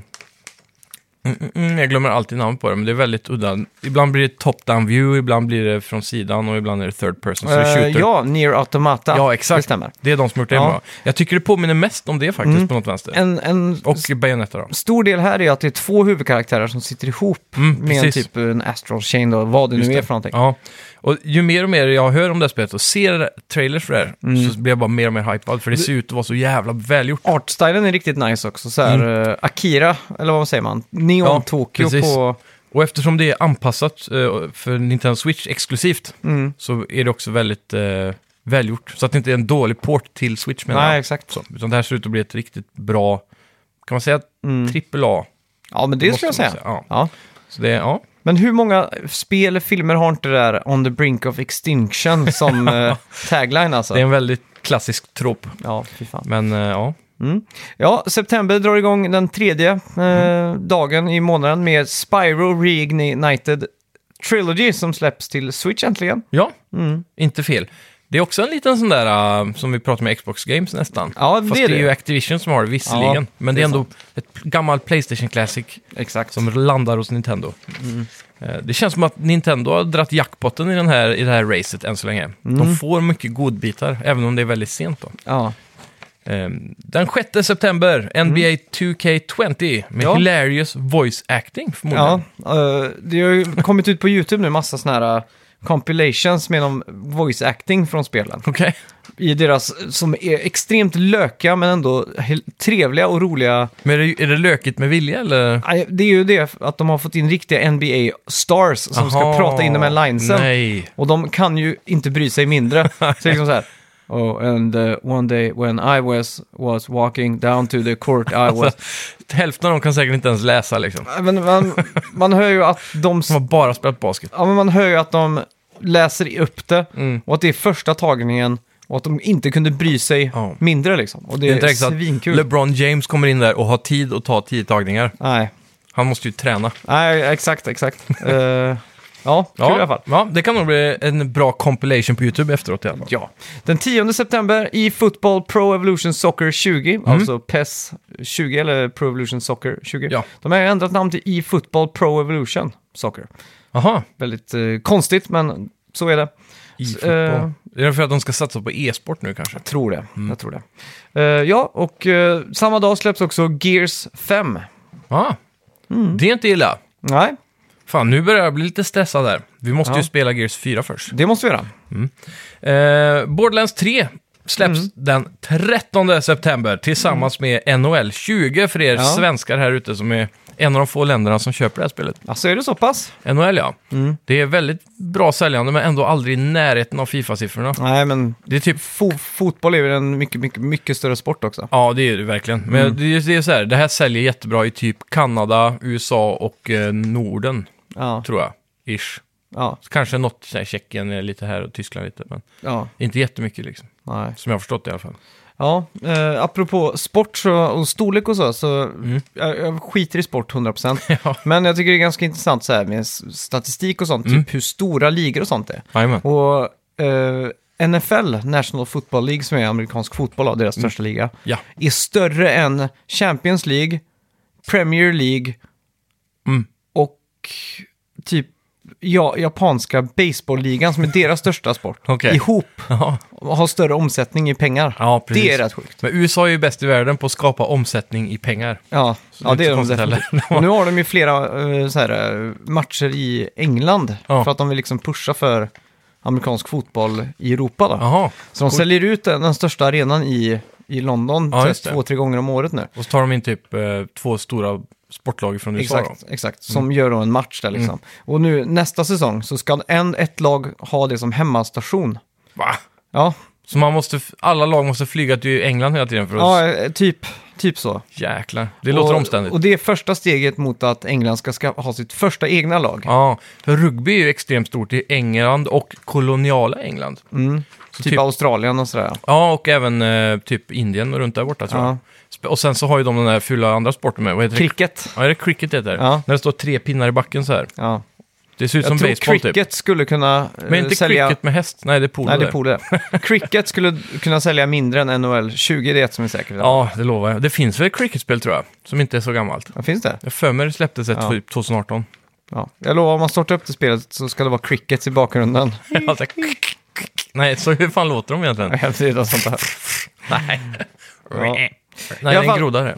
[SPEAKER 2] mm, mm, mm, jag glömmer alltid namn på det, men det är väldigt udda. Ibland blir det top-down view, ibland blir det från sidan och ibland är det third person. Så det
[SPEAKER 1] Eh,
[SPEAKER 2] skjuter.
[SPEAKER 1] ja, Near Automata.
[SPEAKER 2] Ja, exakt.
[SPEAKER 1] Det stämmer.
[SPEAKER 2] Det är de som gjort det
[SPEAKER 1] Ja. Mm.
[SPEAKER 2] bra. Jag tycker det påminner mest om det faktiskt på något vänster.
[SPEAKER 1] En, en
[SPEAKER 2] Och Bayonetta då.
[SPEAKER 1] stor del här är att det är två huvudkaraktärer som sitter ihop
[SPEAKER 2] Mm,
[SPEAKER 1] med en
[SPEAKER 2] precis.
[SPEAKER 1] typ en Astral Chain, då, vad det
[SPEAKER 2] Just
[SPEAKER 1] nu är
[SPEAKER 2] det.
[SPEAKER 1] för någonting.
[SPEAKER 2] Ja. Och ju mer och mer jag hör om det här spelet och ser trailers för det här,
[SPEAKER 1] Mm.
[SPEAKER 2] så blir jag bara mer och mer hypad. För det ser ut att vara så jävla välgjort.
[SPEAKER 1] Artstylen är riktigt nice också. Så här, eh, Akira, eller vad säger man? Neon
[SPEAKER 2] Mm. Ja,
[SPEAKER 1] Tokyo
[SPEAKER 2] precis.
[SPEAKER 1] på...
[SPEAKER 2] Och eftersom det är anpassat eh, för Nintendo Switch exklusivt,
[SPEAKER 1] Mm.
[SPEAKER 2] så är det också väldigt eh, välgjort. Så att det inte är en dålig port till Switch menar
[SPEAKER 1] Nej,
[SPEAKER 2] jag.
[SPEAKER 1] exakt.
[SPEAKER 2] Så, utan det här ser ut att bli ett riktigt bra, kan man säga
[SPEAKER 1] Mm.
[SPEAKER 2] trippel A?
[SPEAKER 1] Ja, men det skulle jag
[SPEAKER 2] Måste man
[SPEAKER 1] säga.
[SPEAKER 2] Ja.
[SPEAKER 1] Ja.
[SPEAKER 2] Så det, är- ja.
[SPEAKER 1] Men hur många spel eller filmer har inte det där On the Brink of Extinction som eh, tagline alltså?
[SPEAKER 2] det är en väldigt klassisk trop.
[SPEAKER 1] Ja, fy fan. Mm.
[SPEAKER 2] Men eh, ja,
[SPEAKER 1] Ja, september drar igång den tredje eh,
[SPEAKER 2] Mm.
[SPEAKER 1] dagen i månaden med Spyro Reignited Trilogy som släpps till Switch äntligen.
[SPEAKER 2] ja
[SPEAKER 1] Mm.
[SPEAKER 2] inte fel. Det är också en liten sån där eh, som vi pratar med Xbox Games nästan.
[SPEAKER 1] Ja, det
[SPEAKER 2] Fast
[SPEAKER 1] är
[SPEAKER 2] det är
[SPEAKER 1] det.
[SPEAKER 2] ju Activision som har det visserligen.
[SPEAKER 1] Ja,
[SPEAKER 2] men
[SPEAKER 1] det
[SPEAKER 2] det
[SPEAKER 1] är
[SPEAKER 2] är ändå ett gammalt Playstation Classic
[SPEAKER 1] Exakt.
[SPEAKER 2] som landar hos Nintendo.
[SPEAKER 1] Mm.
[SPEAKER 2] Eh, Det känns som att Nintendo har dratt jackpotten i, den här, i det här racet än så länge.
[SPEAKER 1] Mm.
[SPEAKER 2] De får mycket godbitar, även om det är väldigt sent då.
[SPEAKER 1] Ja.
[SPEAKER 2] Eh, Den 6 september, NBA 2K20 med
[SPEAKER 1] Mm. Ja.
[SPEAKER 2] hilarious voice acting
[SPEAKER 1] Ja,
[SPEAKER 2] förmodligen.
[SPEAKER 1] eh, det har ju kommit ut på YouTube nu massa sådana här eh, compilations med någon voice acting från spelen.
[SPEAKER 2] Okej.
[SPEAKER 1] I deras, som är extremt löka men ändå he- trevliga och roliga.
[SPEAKER 2] Men är det, är det lökigt med vilja eller?
[SPEAKER 1] Nej, Det är ju det att de har fått in riktiga NBA-stars som ska
[SPEAKER 2] Aha,
[SPEAKER 1] prata in de här linesen.
[SPEAKER 2] Nej.
[SPEAKER 1] Och de kan ju inte bry sig mindre. Så det är liksom så här. Oh, and uh, one day when I was, was walking down to the court I was...
[SPEAKER 2] Hälften av dem kan säkert inte ens läsa liksom.
[SPEAKER 1] Men man, man hör ju att de...
[SPEAKER 2] De har bara spelat basket.
[SPEAKER 1] Ja, men man hör ju att de läser upp det
[SPEAKER 2] Mm.
[SPEAKER 1] och att det är första tagningen och att de inte kunde bry sig
[SPEAKER 2] Ja.
[SPEAKER 1] mindre liksom. Och det,
[SPEAKER 2] Det är inte
[SPEAKER 1] är
[SPEAKER 2] direkt så att
[SPEAKER 1] svinkul.
[SPEAKER 2] LeBron James kommer in där och har tid att ta tio tagningar.
[SPEAKER 1] Nej.
[SPEAKER 2] Han måste ju träna.
[SPEAKER 1] Nej, exakt, exakt. Eh, ja, kul i alla fall.
[SPEAKER 2] ja, det kan nog bli en bra compilation på YouTube efteråt i alla fall.
[SPEAKER 1] Ja, den 10 september i Football Pro Evolution Soccer 20, alltså PES 20 eller Pro Evolution Soccer 20.
[SPEAKER 2] Ja.
[SPEAKER 1] De har ju ändrat namn till i Football Pro Evolution Soccer.
[SPEAKER 2] Jaha,
[SPEAKER 1] Väldigt eh, konstigt, men så är det.
[SPEAKER 2] e-fotboll.
[SPEAKER 1] eh,
[SPEAKER 2] Är det för att de ska satsa på e-sport nu kanske?
[SPEAKER 1] Tror det, jag tror det. Eh, ja, och eh, samma dag släpps också Gears 5.
[SPEAKER 2] Ja, Ah.
[SPEAKER 1] Mm.
[SPEAKER 2] det är inte illa.
[SPEAKER 1] Nej,
[SPEAKER 2] Fan, nu börjar jag bli lite stressad där. Vi måste
[SPEAKER 1] Ja.
[SPEAKER 2] ju spela Gears 4 först.
[SPEAKER 1] det måste vi göra.
[SPEAKER 2] Eh, Borderlands 3 släpps
[SPEAKER 1] Mm.
[SPEAKER 2] den 13 september tillsammans med NHL 20 för er
[SPEAKER 1] Ja.
[SPEAKER 2] svenskar här ute som är en av de få länderna som köper det här spelet.
[SPEAKER 1] Alltså är det så pass?
[SPEAKER 2] NHL ja.
[SPEAKER 1] Mm.
[SPEAKER 2] Det är väldigt bra säljande men ändå aldrig i närheten av Fifa-siffrorna.
[SPEAKER 1] Nej, men
[SPEAKER 2] Det är typ
[SPEAKER 1] fo- fotboll är väl en mycket, mycket, mycket större sport också.
[SPEAKER 2] Ja, det är det verkligen. Men
[SPEAKER 1] Mm.
[SPEAKER 2] det, är- det är så här, det här säljer jättebra i typ Kanada, USA och eh, Norden,
[SPEAKER 1] Ja,
[SPEAKER 2] tror jag. Ish.
[SPEAKER 1] ja,
[SPEAKER 2] Så kanske något så här, Tjeckien eh, lite här och Tyskland lite, men
[SPEAKER 1] ja,
[SPEAKER 2] inte jättemycket liksom.
[SPEAKER 1] nej.
[SPEAKER 2] Som jag har förstått det i alla fall.
[SPEAKER 1] Ja, eh, apropå sport så, och storlek och så, så jag, jag skiter i sport 100%.
[SPEAKER 2] Ja.
[SPEAKER 1] Men jag tycker det är ganska intressant så här med s- statistik och sånt, typ hur stora ligor och sånt är.
[SPEAKER 2] Jajamän.
[SPEAKER 1] Och eh, NFL, National Football League, som är amerikansk fotboll, då, deras största liga,
[SPEAKER 2] Ja.
[SPEAKER 1] är större än Champions League, Premier League
[SPEAKER 2] Mm.
[SPEAKER 1] och typ ja, japanska baseballligan som är deras största sport.
[SPEAKER 2] Okej.
[SPEAKER 1] Ihop
[SPEAKER 2] Ja.
[SPEAKER 1] har större omsättning i pengar.
[SPEAKER 2] ja, precis.
[SPEAKER 1] det är rätt sjukt.
[SPEAKER 2] Men USA är ju bäst i världen på att skapa omsättning i pengar.
[SPEAKER 1] Ja,
[SPEAKER 2] det
[SPEAKER 1] ja
[SPEAKER 2] är
[SPEAKER 1] det
[SPEAKER 2] inte
[SPEAKER 1] är de
[SPEAKER 2] konstigt
[SPEAKER 1] definitivt.
[SPEAKER 2] heller.
[SPEAKER 1] Och nu har de ju flera eh, så här, eh, matcher i England
[SPEAKER 2] Ja.
[SPEAKER 1] för att de vill liksom pusha för amerikansk fotboll i Europa. Då.
[SPEAKER 2] Jaha.
[SPEAKER 1] Så de säljer ut den, den största arenan i, i London
[SPEAKER 2] Ja,
[SPEAKER 1] typ
[SPEAKER 2] just det.
[SPEAKER 1] två, tre gånger om året nu.
[SPEAKER 2] Och så tar de in typ eh, två stora sportlaget från USA.
[SPEAKER 1] Exakt,
[SPEAKER 2] Då.
[SPEAKER 1] exakt. Som gör då en match där
[SPEAKER 2] Mm.
[SPEAKER 1] liksom. Och nu nästa säsong så ska en, ett lag ha det som hemmastation.
[SPEAKER 2] Va?
[SPEAKER 1] Ja,
[SPEAKER 2] Så man måste, f- alla lag måste flyga till England hela tiden för att...
[SPEAKER 1] ja eh, typ, typ så.
[SPEAKER 2] Jäklar. Det låter
[SPEAKER 1] och,
[SPEAKER 2] omständigt.
[SPEAKER 1] Och det är första steget mot att England ska, ska ha sitt första egna lag.
[SPEAKER 2] Ja, för rugby är ju extremt stort i England och koloniala England.
[SPEAKER 1] typ,
[SPEAKER 2] Så typ-
[SPEAKER 1] Australien och sådär.
[SPEAKER 2] Ja, och även eh, typ Indien och runt där borta tror
[SPEAKER 1] Ja.
[SPEAKER 2] jag. Sp- Och sen så har ju de den där fula andra sporten med. Vad heter det?
[SPEAKER 1] Cricket.
[SPEAKER 2] Ja, är det cricket det heter?
[SPEAKER 1] Ja.
[SPEAKER 2] När det står tre pinnar i backen så här.
[SPEAKER 1] Ja.
[SPEAKER 2] Det ser ut
[SPEAKER 1] Jag
[SPEAKER 2] som
[SPEAKER 1] tror
[SPEAKER 2] baseball typ.
[SPEAKER 1] cricket skulle kunna eh,
[SPEAKER 2] Men inte
[SPEAKER 1] sälja...
[SPEAKER 2] cricket med häst. Nej, det är polo
[SPEAKER 1] Nej, det
[SPEAKER 2] där.
[SPEAKER 1] är polo där. Cricket skulle kunna sälja mindre än NHL 20, det är ett som är säkert.
[SPEAKER 2] Ja, det lovar jag. Det finns väl ett cricketspel tror jag, som inte är så gammalt.
[SPEAKER 1] Ja, Finns det?
[SPEAKER 2] Jag för mig det släpptes ett
[SPEAKER 1] Ja.
[SPEAKER 2] typ 2018.
[SPEAKER 1] Ja. Jag lovar, om man startar upp det spelet så ska det vara crickets i bakgrunden.
[SPEAKER 2] Jag så här, Nej, så hur fan låter de egentligen?
[SPEAKER 1] Jag vet inte vad sånt där.
[SPEAKER 2] Nej.
[SPEAKER 1] Ja.
[SPEAKER 2] Nej,
[SPEAKER 1] I alla
[SPEAKER 2] det är en
[SPEAKER 1] fall-
[SPEAKER 2] groda det.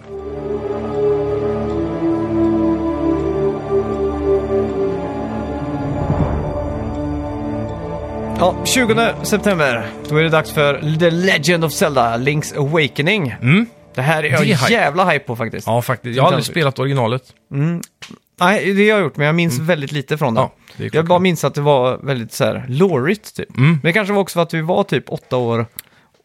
[SPEAKER 1] Ja, 20 september. Då är det dags för The Legend of Zelda, Link's Awakening. Det här är jag
[SPEAKER 2] Det är hype.
[SPEAKER 1] jävla hype på faktiskt.
[SPEAKER 2] Mm. Ja, faktiskt. Jag har aldrig
[SPEAKER 1] Nintendo.
[SPEAKER 2] spelat originalet.
[SPEAKER 1] Nej, det har jag gjort, men jag minns väldigt lite från det.
[SPEAKER 2] Mm. Ja, det Mm. är
[SPEAKER 1] jag
[SPEAKER 2] klart.
[SPEAKER 1] bara minns att det var väldigt så här lorigt typ. Men det kanske var också för att vi var typ åtta år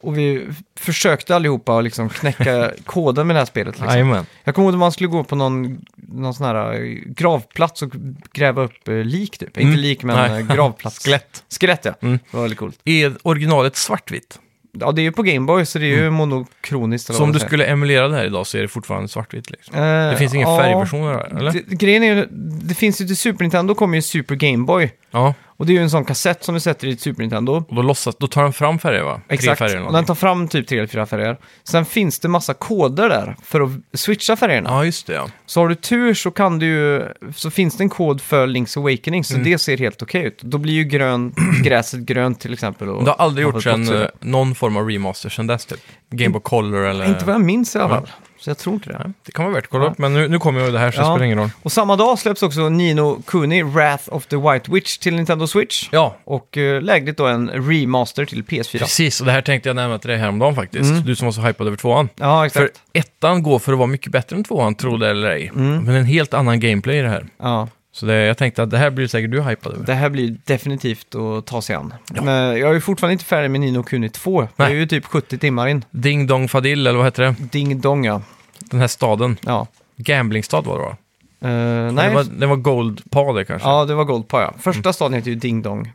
[SPEAKER 1] och vi försökte allihopa att liksom knäcka koden med det här spelet. Liksom.
[SPEAKER 2] Jajamän.
[SPEAKER 1] Jag kommer ihåg när man skulle gå på någon, någon sån här eh, gravplats och gräva upp eh, lik typ. Inte lik, men
[SPEAKER 2] Mm. Nej.
[SPEAKER 1] eh, gravplats.
[SPEAKER 2] Skelett. Mm.
[SPEAKER 1] Skelett, ja. Det var väldigt coolt.
[SPEAKER 2] Är originalet svartvitt?
[SPEAKER 1] Ja, det är ju på Gameboy, så det är ju monokroniskt. eller
[SPEAKER 2] Så
[SPEAKER 1] vad
[SPEAKER 2] om Mm. du
[SPEAKER 1] man säger.
[SPEAKER 2] skulle emulera det här idag så är det fortfarande svartvitt liksom.
[SPEAKER 1] Eh,
[SPEAKER 2] Det finns ingen
[SPEAKER 1] ja.
[SPEAKER 2] färgversion av det här, eller?
[SPEAKER 1] Det, grejen är ju, det finns ju till Super Nintendo kommer ju Super Gameboy.
[SPEAKER 2] Ja,
[SPEAKER 1] Och det är ju en sån kassett som du sätter i ett Super Nintendo.
[SPEAKER 2] och då, låtsas, då tar han fram färger va?
[SPEAKER 1] Exakt,
[SPEAKER 2] Tre färger
[SPEAKER 1] och den
[SPEAKER 2] eller
[SPEAKER 1] tar fram typ tre eller fyra färger. Sen finns det massa koder där för att switcha färgerna.
[SPEAKER 2] Ja, just det ja.
[SPEAKER 1] Så har du tur så kan du ju, så finns det en kod för Link's Awakening, så
[SPEAKER 2] Mm.
[SPEAKER 1] det ser helt okej ut. Då blir ju grön, gräset grönt till exempel. Och
[SPEAKER 2] Det har aldrig gjorts
[SPEAKER 1] Ja,
[SPEAKER 2] en, eh, någon form av remaster sen dess typ? Game Boy Color eller...
[SPEAKER 1] Inte vad jag minns i alla
[SPEAKER 2] Ja.
[SPEAKER 1] fall, så jag tror inte det.
[SPEAKER 2] Nej, det kan vara värt att kolla upp, men nu, nu kommer ju det här så det
[SPEAKER 1] Ja.
[SPEAKER 2] spelar ingen roll.
[SPEAKER 1] Och samma dag släpps också Nino Kuni, Wrath of the White Witch till Nintendo Switch.
[SPEAKER 2] Ja,
[SPEAKER 1] Och eh, lägligt då en remaster till PS4.
[SPEAKER 2] precis. Och det här tänkte jag nämna till dig häromdagen faktiskt. Du som var så hypad över tvåan.
[SPEAKER 1] Ja, exakt.
[SPEAKER 2] För ettan går för att vara mycket bättre än tvåan, tro det eller ej. Men en helt annan gameplay i det här.
[SPEAKER 1] Ja,
[SPEAKER 2] Så det, jag tänkte att det här blir säkert du hypad över.
[SPEAKER 1] det här blir definitivt att ta sig an. Men jag är ju fortfarande inte färdig med Nino Kuni 2. Det är
[SPEAKER 2] Nej.
[SPEAKER 1] ju typ 70 timmar in.
[SPEAKER 2] Ding Dong Fadil, eller vad heter det?
[SPEAKER 1] Ding dong, ja.
[SPEAKER 2] Den här staden.
[SPEAKER 1] ja.
[SPEAKER 2] Gamblingstad var det va?
[SPEAKER 1] Eh,
[SPEAKER 2] Nej.
[SPEAKER 1] nej,
[SPEAKER 2] Det var, Mm. det var Gold Pa det kanske?
[SPEAKER 1] ja, det var Goldpa, ja. Första staden heter ju Ding Dong.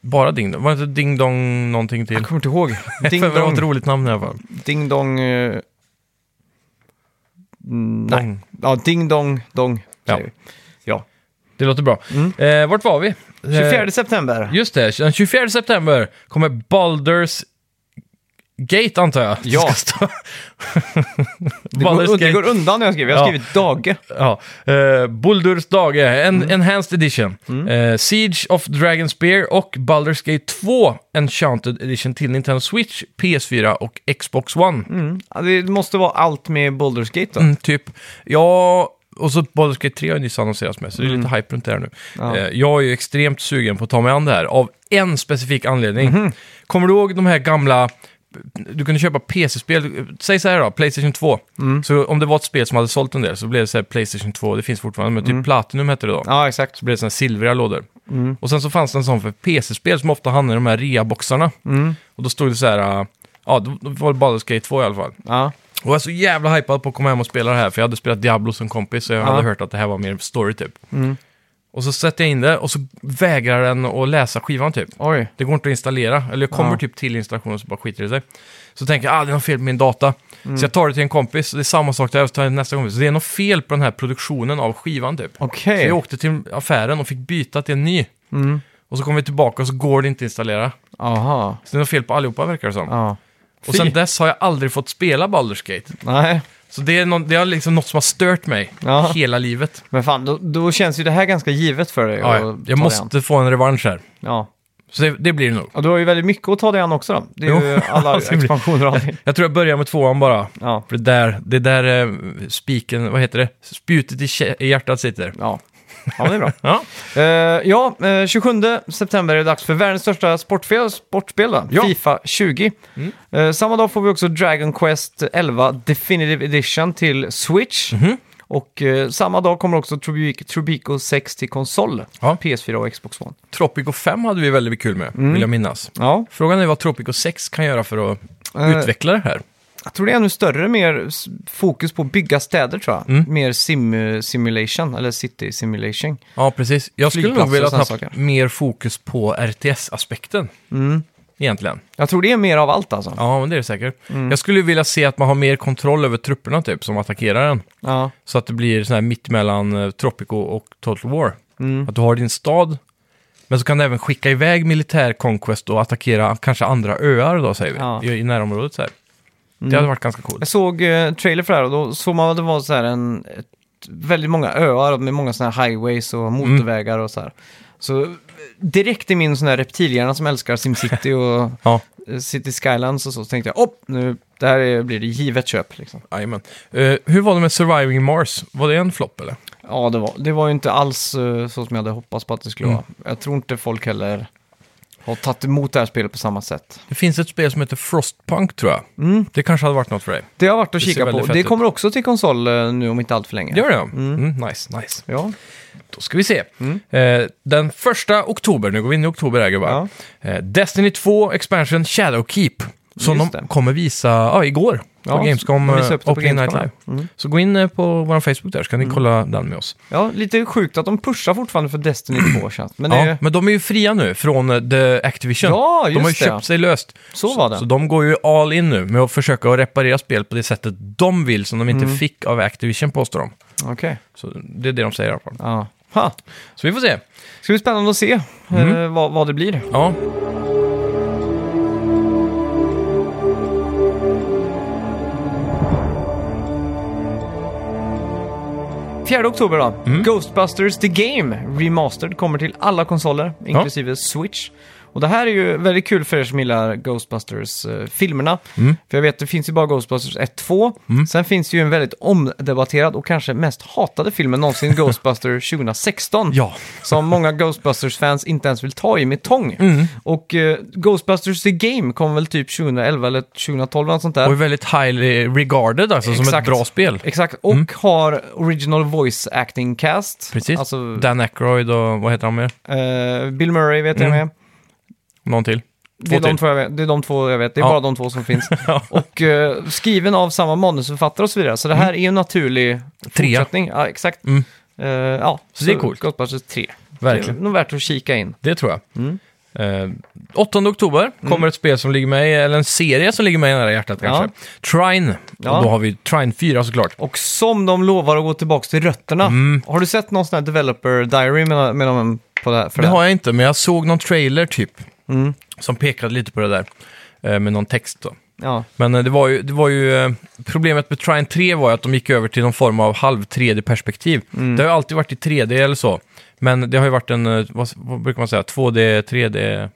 [SPEAKER 2] Bara Ding Dong? Var det inte Ding Dong någonting till?
[SPEAKER 1] Jag kommer inte ihåg. Ding
[SPEAKER 2] För det var ett
[SPEAKER 1] Dong.
[SPEAKER 2] roligt namn i alla fall.
[SPEAKER 1] Ding Dong... eh, mm, nej.
[SPEAKER 2] Dong.
[SPEAKER 1] Ja, Ding Dong Dong.
[SPEAKER 2] Ja.
[SPEAKER 1] säger vi. ja.
[SPEAKER 2] Det låter bra.
[SPEAKER 1] Mm.
[SPEAKER 2] Eh, vart var vi? Eh,
[SPEAKER 1] 24 september.
[SPEAKER 2] Just det, den 24 september kommer Baldur's Gate antar jag.
[SPEAKER 1] Ja.
[SPEAKER 2] Det ska stå.
[SPEAKER 1] Det går,
[SPEAKER 2] Baldur's
[SPEAKER 1] det
[SPEAKER 2] Gate.
[SPEAKER 1] går undan när jag skriver. Jag har
[SPEAKER 2] Ja.
[SPEAKER 1] skrivit Dage.
[SPEAKER 2] Ja. Eh, Baldur's Dage, en Enhanced Edition. Eh, Siege of Dragon Spear och Baldur's Gate 2 Enchanted Edition till Nintendo Switch, PS4 och Xbox One.
[SPEAKER 1] Mm. Ja, Det måste vara allt med Baldur's Gate då.
[SPEAKER 2] Mm, typ, ja, och så Baldur's Gate 3 har ju nyss annonserats med, så det är lite hype runt det här nu. Eh, jag är ju extremt sugen på att ta mig an det här, av en specifik anledning. Kommer du ihåg de här gamla... Du kunde köpa PC-spel, säg så här då, Playstation 2. Så om det var ett spel som hade sålt en del så blev det så här Playstation 2, det finns fortfarande, men typ Platinum hette det då.
[SPEAKER 1] Ja, exakt.
[SPEAKER 2] Så blev det sådana silvriga lådor.
[SPEAKER 1] Mm.
[SPEAKER 2] Och sen så fanns det en sån för PC-spel som ofta hamnade i de här reaboxarna.
[SPEAKER 1] Mm.
[SPEAKER 2] Och då stod det så här, eh, ja, då då var det Baldur's Gate 2 i alla fall.
[SPEAKER 1] Ja.
[SPEAKER 2] Och jag var så jävla hypad på att komma hem och spela det här, för jag hade spelat Diablo som kompis, så jag hade
[SPEAKER 1] Ja. Mm.
[SPEAKER 2] hört att det här var mer story typ. Och så sätter jag in det, och så vägrar den att läsa skivan typ.
[SPEAKER 1] Oj.
[SPEAKER 2] Det går inte att installera, eller jag kommer
[SPEAKER 1] Ja.
[SPEAKER 2] typ till installationen och så bara skiter det sig. Så tänker jag, ah det är något fel på min data.
[SPEAKER 1] Mm.
[SPEAKER 2] Så jag tar det till en kompis, och det är samma sak där, och så tar jag det till nästa kompis. Så det är något fel på den här produktionen av skivan typ. Så
[SPEAKER 1] Okej.
[SPEAKER 2] jag åkte till affären och fick byta till en ny.
[SPEAKER 1] Mm.
[SPEAKER 2] Och så kom vi tillbaka och så går det inte att installera.
[SPEAKER 1] Aha.
[SPEAKER 2] Så det är något fel på allihopa verkar det som.
[SPEAKER 1] Ja.
[SPEAKER 2] och sen dess har jag aldrig fått spela Baldur's Gate.
[SPEAKER 1] Nej.
[SPEAKER 2] Så det är, någon, det är liksom något som har stört mig
[SPEAKER 1] Ja.
[SPEAKER 2] hela livet.
[SPEAKER 1] Men fan, då, då känns ju det här ganska givet för dig.
[SPEAKER 2] Ja,
[SPEAKER 1] att
[SPEAKER 2] ja.
[SPEAKER 1] ta
[SPEAKER 2] jag
[SPEAKER 1] dig an.
[SPEAKER 2] måste få en revansch här.
[SPEAKER 1] Ja.
[SPEAKER 2] Så det, det blir det nog.
[SPEAKER 1] Och du har ju väldigt mycket att ta dig an också då. Det är
[SPEAKER 2] Jo.
[SPEAKER 1] ju alla
[SPEAKER 2] Alltså, det blir-
[SPEAKER 1] expansioner och allting.
[SPEAKER 2] Jag tror jag börjar med tvåan bara.
[SPEAKER 1] Ja.
[SPEAKER 2] För det där, det där eh, spiken, vad heter det? Spjutet i, kä- i hjärtat sitter.
[SPEAKER 1] Ja. Ja, men det är bra.
[SPEAKER 2] Ja,
[SPEAKER 1] Eh, ja, eh, 27 september är det dags för världens största sportspel, sportspel då,
[SPEAKER 2] Ja. Mm.
[SPEAKER 1] Fifa 20.
[SPEAKER 2] Mhm.
[SPEAKER 1] Eh, samma dag får vi också Dragon Quest 11 Definitive Edition till Switch. Och eh, samma dag kommer också Trubico, Trubico 6 till konsol,
[SPEAKER 2] Ja.
[SPEAKER 1] PS4 och Xbox One.
[SPEAKER 2] Tropico 5 hade vi väldigt kul med,
[SPEAKER 1] Mm.
[SPEAKER 2] vill jag minnas.
[SPEAKER 1] Ja,
[SPEAKER 2] Frågan är vad Tropico 6 kan göra för att
[SPEAKER 1] Eh.
[SPEAKER 2] utveckla det här.
[SPEAKER 1] jag tror det är ännu större mer s- fokus på att bygga städer tror jag.
[SPEAKER 2] Mm.
[SPEAKER 1] Mer sim simulation, eller city simulation.
[SPEAKER 2] Ja, precis. Jag skulle nog
[SPEAKER 1] Flygplatser
[SPEAKER 2] vilja
[SPEAKER 1] och såna
[SPEAKER 2] ha
[SPEAKER 1] saker. Mm.
[SPEAKER 2] mer fokus på RTS-aspekten. Egentligen.
[SPEAKER 1] Jag tror det är mer av allt alltså.
[SPEAKER 2] Ja, men det är det säkert. Jag skulle vilja se att man har mer kontroll över trupperna typ, som attackerar en.
[SPEAKER 1] Ja.
[SPEAKER 2] Så att det blir sån här mitt mellan eh, Tropico och Total War.
[SPEAKER 1] Mm.
[SPEAKER 2] Att du har din stad, men så kan du även skicka iväg militär conquest och attackera kanske andra öar då, säger vi,
[SPEAKER 1] Ja. Mm.
[SPEAKER 2] i, i närområdet så här. Det hade varit ganska coolt.
[SPEAKER 1] Jag såg eh, trailer för det här och då såg man att det var så här en, ett, väldigt många öar med många sådana här highways
[SPEAKER 2] Mm.
[SPEAKER 1] och motorvägar och så här. Så eh, direkt i min sån här reptilhjärna som älskar SimCity och
[SPEAKER 2] Ja,
[SPEAKER 1] eh, City Skylines och så, så tänkte jag upp nu, det här är, blir det givet köp liksom.
[SPEAKER 2] jajamän. Eh, hur var det med Surviving Mars? Var det en flopp eller?
[SPEAKER 1] Ja, det var, det var ju inte alls eh, så som jag hade hoppats på att det skulle
[SPEAKER 2] Mm.
[SPEAKER 1] vara. Jag tror inte folk heller har tagit emot det här spelet på samma sätt.
[SPEAKER 2] Det finns ett spel som heter Frostpunk tror jag.
[SPEAKER 1] Mm.
[SPEAKER 2] Det kanske hade varit något för dig.
[SPEAKER 1] Det har jag varit och
[SPEAKER 2] ser
[SPEAKER 1] kika på.
[SPEAKER 2] väldigt fett
[SPEAKER 1] Det
[SPEAKER 2] ut.
[SPEAKER 1] kommer också till konsol eh, nu om inte allt för länge.
[SPEAKER 2] Gör det? Mm, nice, nice.
[SPEAKER 1] Ja.
[SPEAKER 2] Då ska vi se.
[SPEAKER 1] Mm.
[SPEAKER 2] Eh, den första oktober, nu går vi in i oktober här gubbar. Eh, Destiny 2 Expansion Shadowkeep. Som
[SPEAKER 1] Just
[SPEAKER 2] de
[SPEAKER 1] det.
[SPEAKER 2] kommer visa ja, igår på
[SPEAKER 1] Ja,
[SPEAKER 2] Gamescom
[SPEAKER 1] de
[SPEAKER 2] eh,
[SPEAKER 1] visar upp det på
[SPEAKER 2] Opening Night
[SPEAKER 1] Gamescom, Mm.
[SPEAKER 2] Live. Så gå in eh, på vår Facebook där så kan ni kolla den med oss.
[SPEAKER 1] ja, lite sjukt att de pushar fortfarande för Destiny 2 känns Men det är
[SPEAKER 2] Ja,
[SPEAKER 1] ju,
[SPEAKER 2] men de är ju fria nu från eh, The Activision.
[SPEAKER 1] Ja,
[SPEAKER 2] de har ju
[SPEAKER 1] just det.
[SPEAKER 2] köpt sig löst.
[SPEAKER 1] så var det.
[SPEAKER 2] Så de går ju all in nu med att försöka att reparera spel på det sättet de vill som de inte
[SPEAKER 1] Mm.
[SPEAKER 2] fick av Activision påstår de.
[SPEAKER 1] Okej.
[SPEAKER 2] Så det är det de säger i alla fall.
[SPEAKER 1] Ja. Ha.
[SPEAKER 2] Så vi får se.
[SPEAKER 1] Det ska bli spännande att se eh,
[SPEAKER 2] Mm.
[SPEAKER 1] vad, vad det blir.
[SPEAKER 2] Ja.
[SPEAKER 1] Fjärde oktober då.
[SPEAKER 2] Mm.
[SPEAKER 1] Ghostbusters The Game Remastered kommer till alla konsoler, inklusive Switch. Och det här är ju väldigt kul för er som gillar Ghostbusters-filmerna.
[SPEAKER 2] Mm.
[SPEAKER 1] För jag vet, det finns ju bara Ghostbusters 1, 2. Sen finns det ju en väldigt omdebatterad och kanske mest hatade filmen någonsin, Ghostbusters 2016.
[SPEAKER 2] Ja.
[SPEAKER 1] Som många Ghostbusters-fans inte ens vill ta i med tång.
[SPEAKER 2] Mm.
[SPEAKER 1] Och eh, Ghostbusters The Game kom väl typ 2011 eller 2012 eller något sånt där.
[SPEAKER 2] Och är väldigt highly regarded alltså, som ett
[SPEAKER 1] Exakt.
[SPEAKER 2] bra spel.
[SPEAKER 1] Exakt, och har original voice acting cast.
[SPEAKER 2] Mm. Precis.
[SPEAKER 1] Alltså,
[SPEAKER 2] Dan Aykroyd och vad heter han mer?
[SPEAKER 1] Eh, Bill Murray vet jag
[SPEAKER 2] Mm.
[SPEAKER 1] med.
[SPEAKER 2] Någon till?
[SPEAKER 1] Det är,
[SPEAKER 2] till.
[SPEAKER 1] de två jag vet. det är de två jag vet. Det är
[SPEAKER 2] Ja.
[SPEAKER 1] bara de två som finns.
[SPEAKER 2] Ja.
[SPEAKER 1] och eh, skriven av samma manusförfattare och så vidare. Så det här är ju en naturlig
[SPEAKER 2] Mm. Trea.
[SPEAKER 1] fortsättning. Ja, exakt.
[SPEAKER 2] Mm.
[SPEAKER 1] Eh, ja, så
[SPEAKER 2] det är coolt.
[SPEAKER 1] Ghostbusters 3.
[SPEAKER 2] Verkligen.
[SPEAKER 1] Det är nog värt att kika in.
[SPEAKER 2] Det tror jag.
[SPEAKER 1] Mm.
[SPEAKER 2] Eh, 8 oktober kommer ett spel som ligger mig, eller en serie som ligger mig nära hjärtat kanske. Trine.
[SPEAKER 1] Ja.
[SPEAKER 2] Och då har vi Trine 4 såklart.
[SPEAKER 1] Och som de lovar att gå tillbaka till rötterna.
[SPEAKER 2] Mm.
[SPEAKER 1] Har du sett någon sån här developer diary med, med dem på det här? För
[SPEAKER 2] Det
[SPEAKER 1] det Mm. här?
[SPEAKER 2] har jag inte, men jag såg någon trailer typ. Som pekade lite på det där. eh, Med någon text då.
[SPEAKER 1] Ja.
[SPEAKER 2] Men eh, det var ju, det var ju eh, problemet med Trine 3 var ju att de gick över till någon form av halv 3D-perspektiv.
[SPEAKER 1] Mm.
[SPEAKER 2] Det har ju alltid varit i 3D eller så. Men det har ju varit en, eh, vad, vad brukar man säga, 2D, 3D,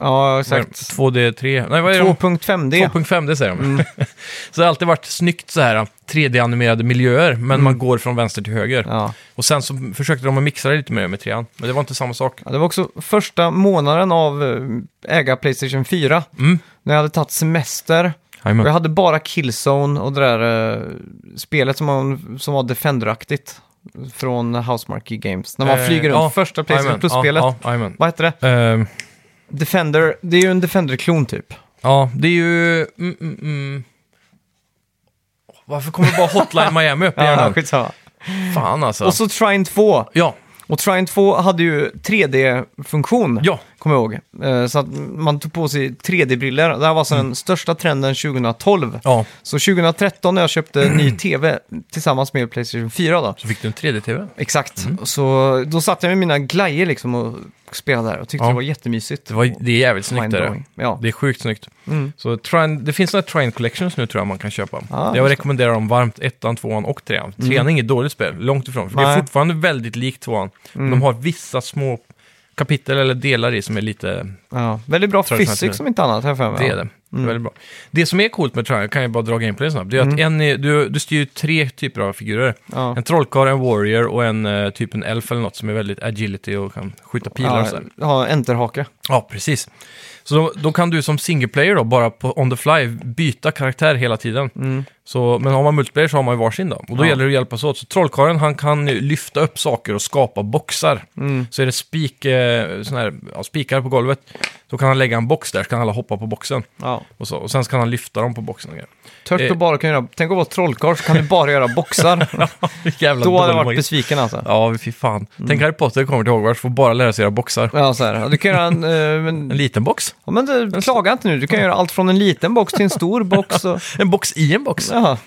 [SPEAKER 1] ja, exakt. Mm.
[SPEAKER 2] 2D3, nej vad är det?
[SPEAKER 1] 2.5D.
[SPEAKER 2] 2.5D säger de. så det har alltid varit snyggt så här 3D-animerade miljöer, men man går från vänster till höger.
[SPEAKER 1] Mm. Ja.
[SPEAKER 2] Och sen så försökte de att mixa det lite mer med trean, men det var inte samma sak.
[SPEAKER 1] Ja, det var också första månaden av eh, äga Playstation 4.
[SPEAKER 2] Mm.
[SPEAKER 1] När jag hade tagit semester. Och jag
[SPEAKER 2] Jajamän.
[SPEAKER 1] hade bara Killzone och det där eh, spelet som, man, som var Defender-aktigt. Från Housemarque Games. När man
[SPEAKER 2] Eh,
[SPEAKER 1] flyger runt.
[SPEAKER 2] ja,
[SPEAKER 1] Första Playstation
[SPEAKER 2] jajamän.
[SPEAKER 1] Plus-spelet.
[SPEAKER 2] Ja, ja, jajamän.
[SPEAKER 1] Vad heter det?
[SPEAKER 2] Ehm,
[SPEAKER 1] Defender. Det är ju en Defender-klon typ.
[SPEAKER 2] Ja, det är ju... Mm, mm, mm. Varför kommer bara Hotline Miami upp i
[SPEAKER 1] Ja,
[SPEAKER 2] hjärnan?
[SPEAKER 1] skitsamma.
[SPEAKER 2] Fan alltså.
[SPEAKER 1] Och så Trine 2.
[SPEAKER 2] Ja,
[SPEAKER 1] Och Trine 2 hade ju 3D-funktion.
[SPEAKER 2] ja,
[SPEAKER 1] Kommer jag ihåg. Eh, Så att man tog på sig 3D-briller. Det här var alltså den största trenden 2012.
[SPEAKER 2] Mm. ja.
[SPEAKER 1] Så 2013 när jag köpte ny tv tillsammans med Playstation 4 då.
[SPEAKER 2] Så fick du en 3D-TV.
[SPEAKER 1] Exakt.
[SPEAKER 2] Mm.
[SPEAKER 1] Så då satt jag med mina glajjor liksom och spelade där och tyckte
[SPEAKER 2] Ja.
[SPEAKER 1] det var jättemysigt.
[SPEAKER 2] Det, var, det är jävligt snyggt. Är det.
[SPEAKER 1] Mindblowing. Mm. Ja.
[SPEAKER 2] det är sjukt snyggt. Så train, det finns några Train Collections nu tror jag man kan köpa.
[SPEAKER 1] Ah,
[SPEAKER 2] jag
[SPEAKER 1] just Mm.
[SPEAKER 2] rekommenderar dem varmt, ettan, tvåan och trean. Trean är inget dåligt spel, långt ifrån. För det är
[SPEAKER 1] Nej. Mm.
[SPEAKER 2] fortfarande väldigt likt tvåan. Men de har vissa små kapitel eller delar i som är lite...
[SPEAKER 1] Ja. Väldigt bra
[SPEAKER 2] Traditionellt
[SPEAKER 1] fysik som inte annat här för mig.
[SPEAKER 2] Det är det.
[SPEAKER 1] Mm.
[SPEAKER 2] Det är Väldigt bra. Det som är coolt med Triangle, kan jag bara dra gameplay snabbt, det är att en är, du, du styr ju tre typer av figurer.
[SPEAKER 1] Ja.
[SPEAKER 2] En trollkarl, en warrior och en eh, typ en elf eller något som är väldigt agility och kan skjuta pilar och
[SPEAKER 1] Ja,
[SPEAKER 2] sådär.
[SPEAKER 1] ja, enterhake.
[SPEAKER 2] Ja, precis. Så då, då kan du som single player då, bara på on the fly, byta karaktär hela tiden. Så, men har man multiplayer så har man ju varsin då. Och då
[SPEAKER 1] Mm. Ja.
[SPEAKER 2] gäller det att hjälpas åt. Så trollkarlen, han kan ju lyfta upp saker och skapa boxar.
[SPEAKER 1] Mm.
[SPEAKER 2] Så är det spik, eh, sån här, ja, spikar på golvet, så kan han lägga en box där, så kan alla hoppa på boxen.
[SPEAKER 1] Ja.
[SPEAKER 2] Och, så. och sen så kan han lyfta dem på boxen och grejer.
[SPEAKER 1] Tört
[SPEAKER 2] Eh.
[SPEAKER 1] och bara kan göra... Tänk att vara trollkarl så kan du bara göra boxar.
[SPEAKER 2] Jävla
[SPEAKER 1] Då hade
[SPEAKER 2] dålig
[SPEAKER 1] jag varit
[SPEAKER 2] magi. Mm.
[SPEAKER 1] besviken alltså.
[SPEAKER 2] Ja, fy fan. Tänk Harry Potter kommer till Hogwarts, får bara lära sig göra boxar.
[SPEAKER 1] Ja, så här. Du kan göra en... eh, men,
[SPEAKER 2] En liten box.
[SPEAKER 1] ja, men du, klaga inte nu. Du kan göra allt från en liten box till en stor box. Och,
[SPEAKER 2] En box i en box.
[SPEAKER 1] ja.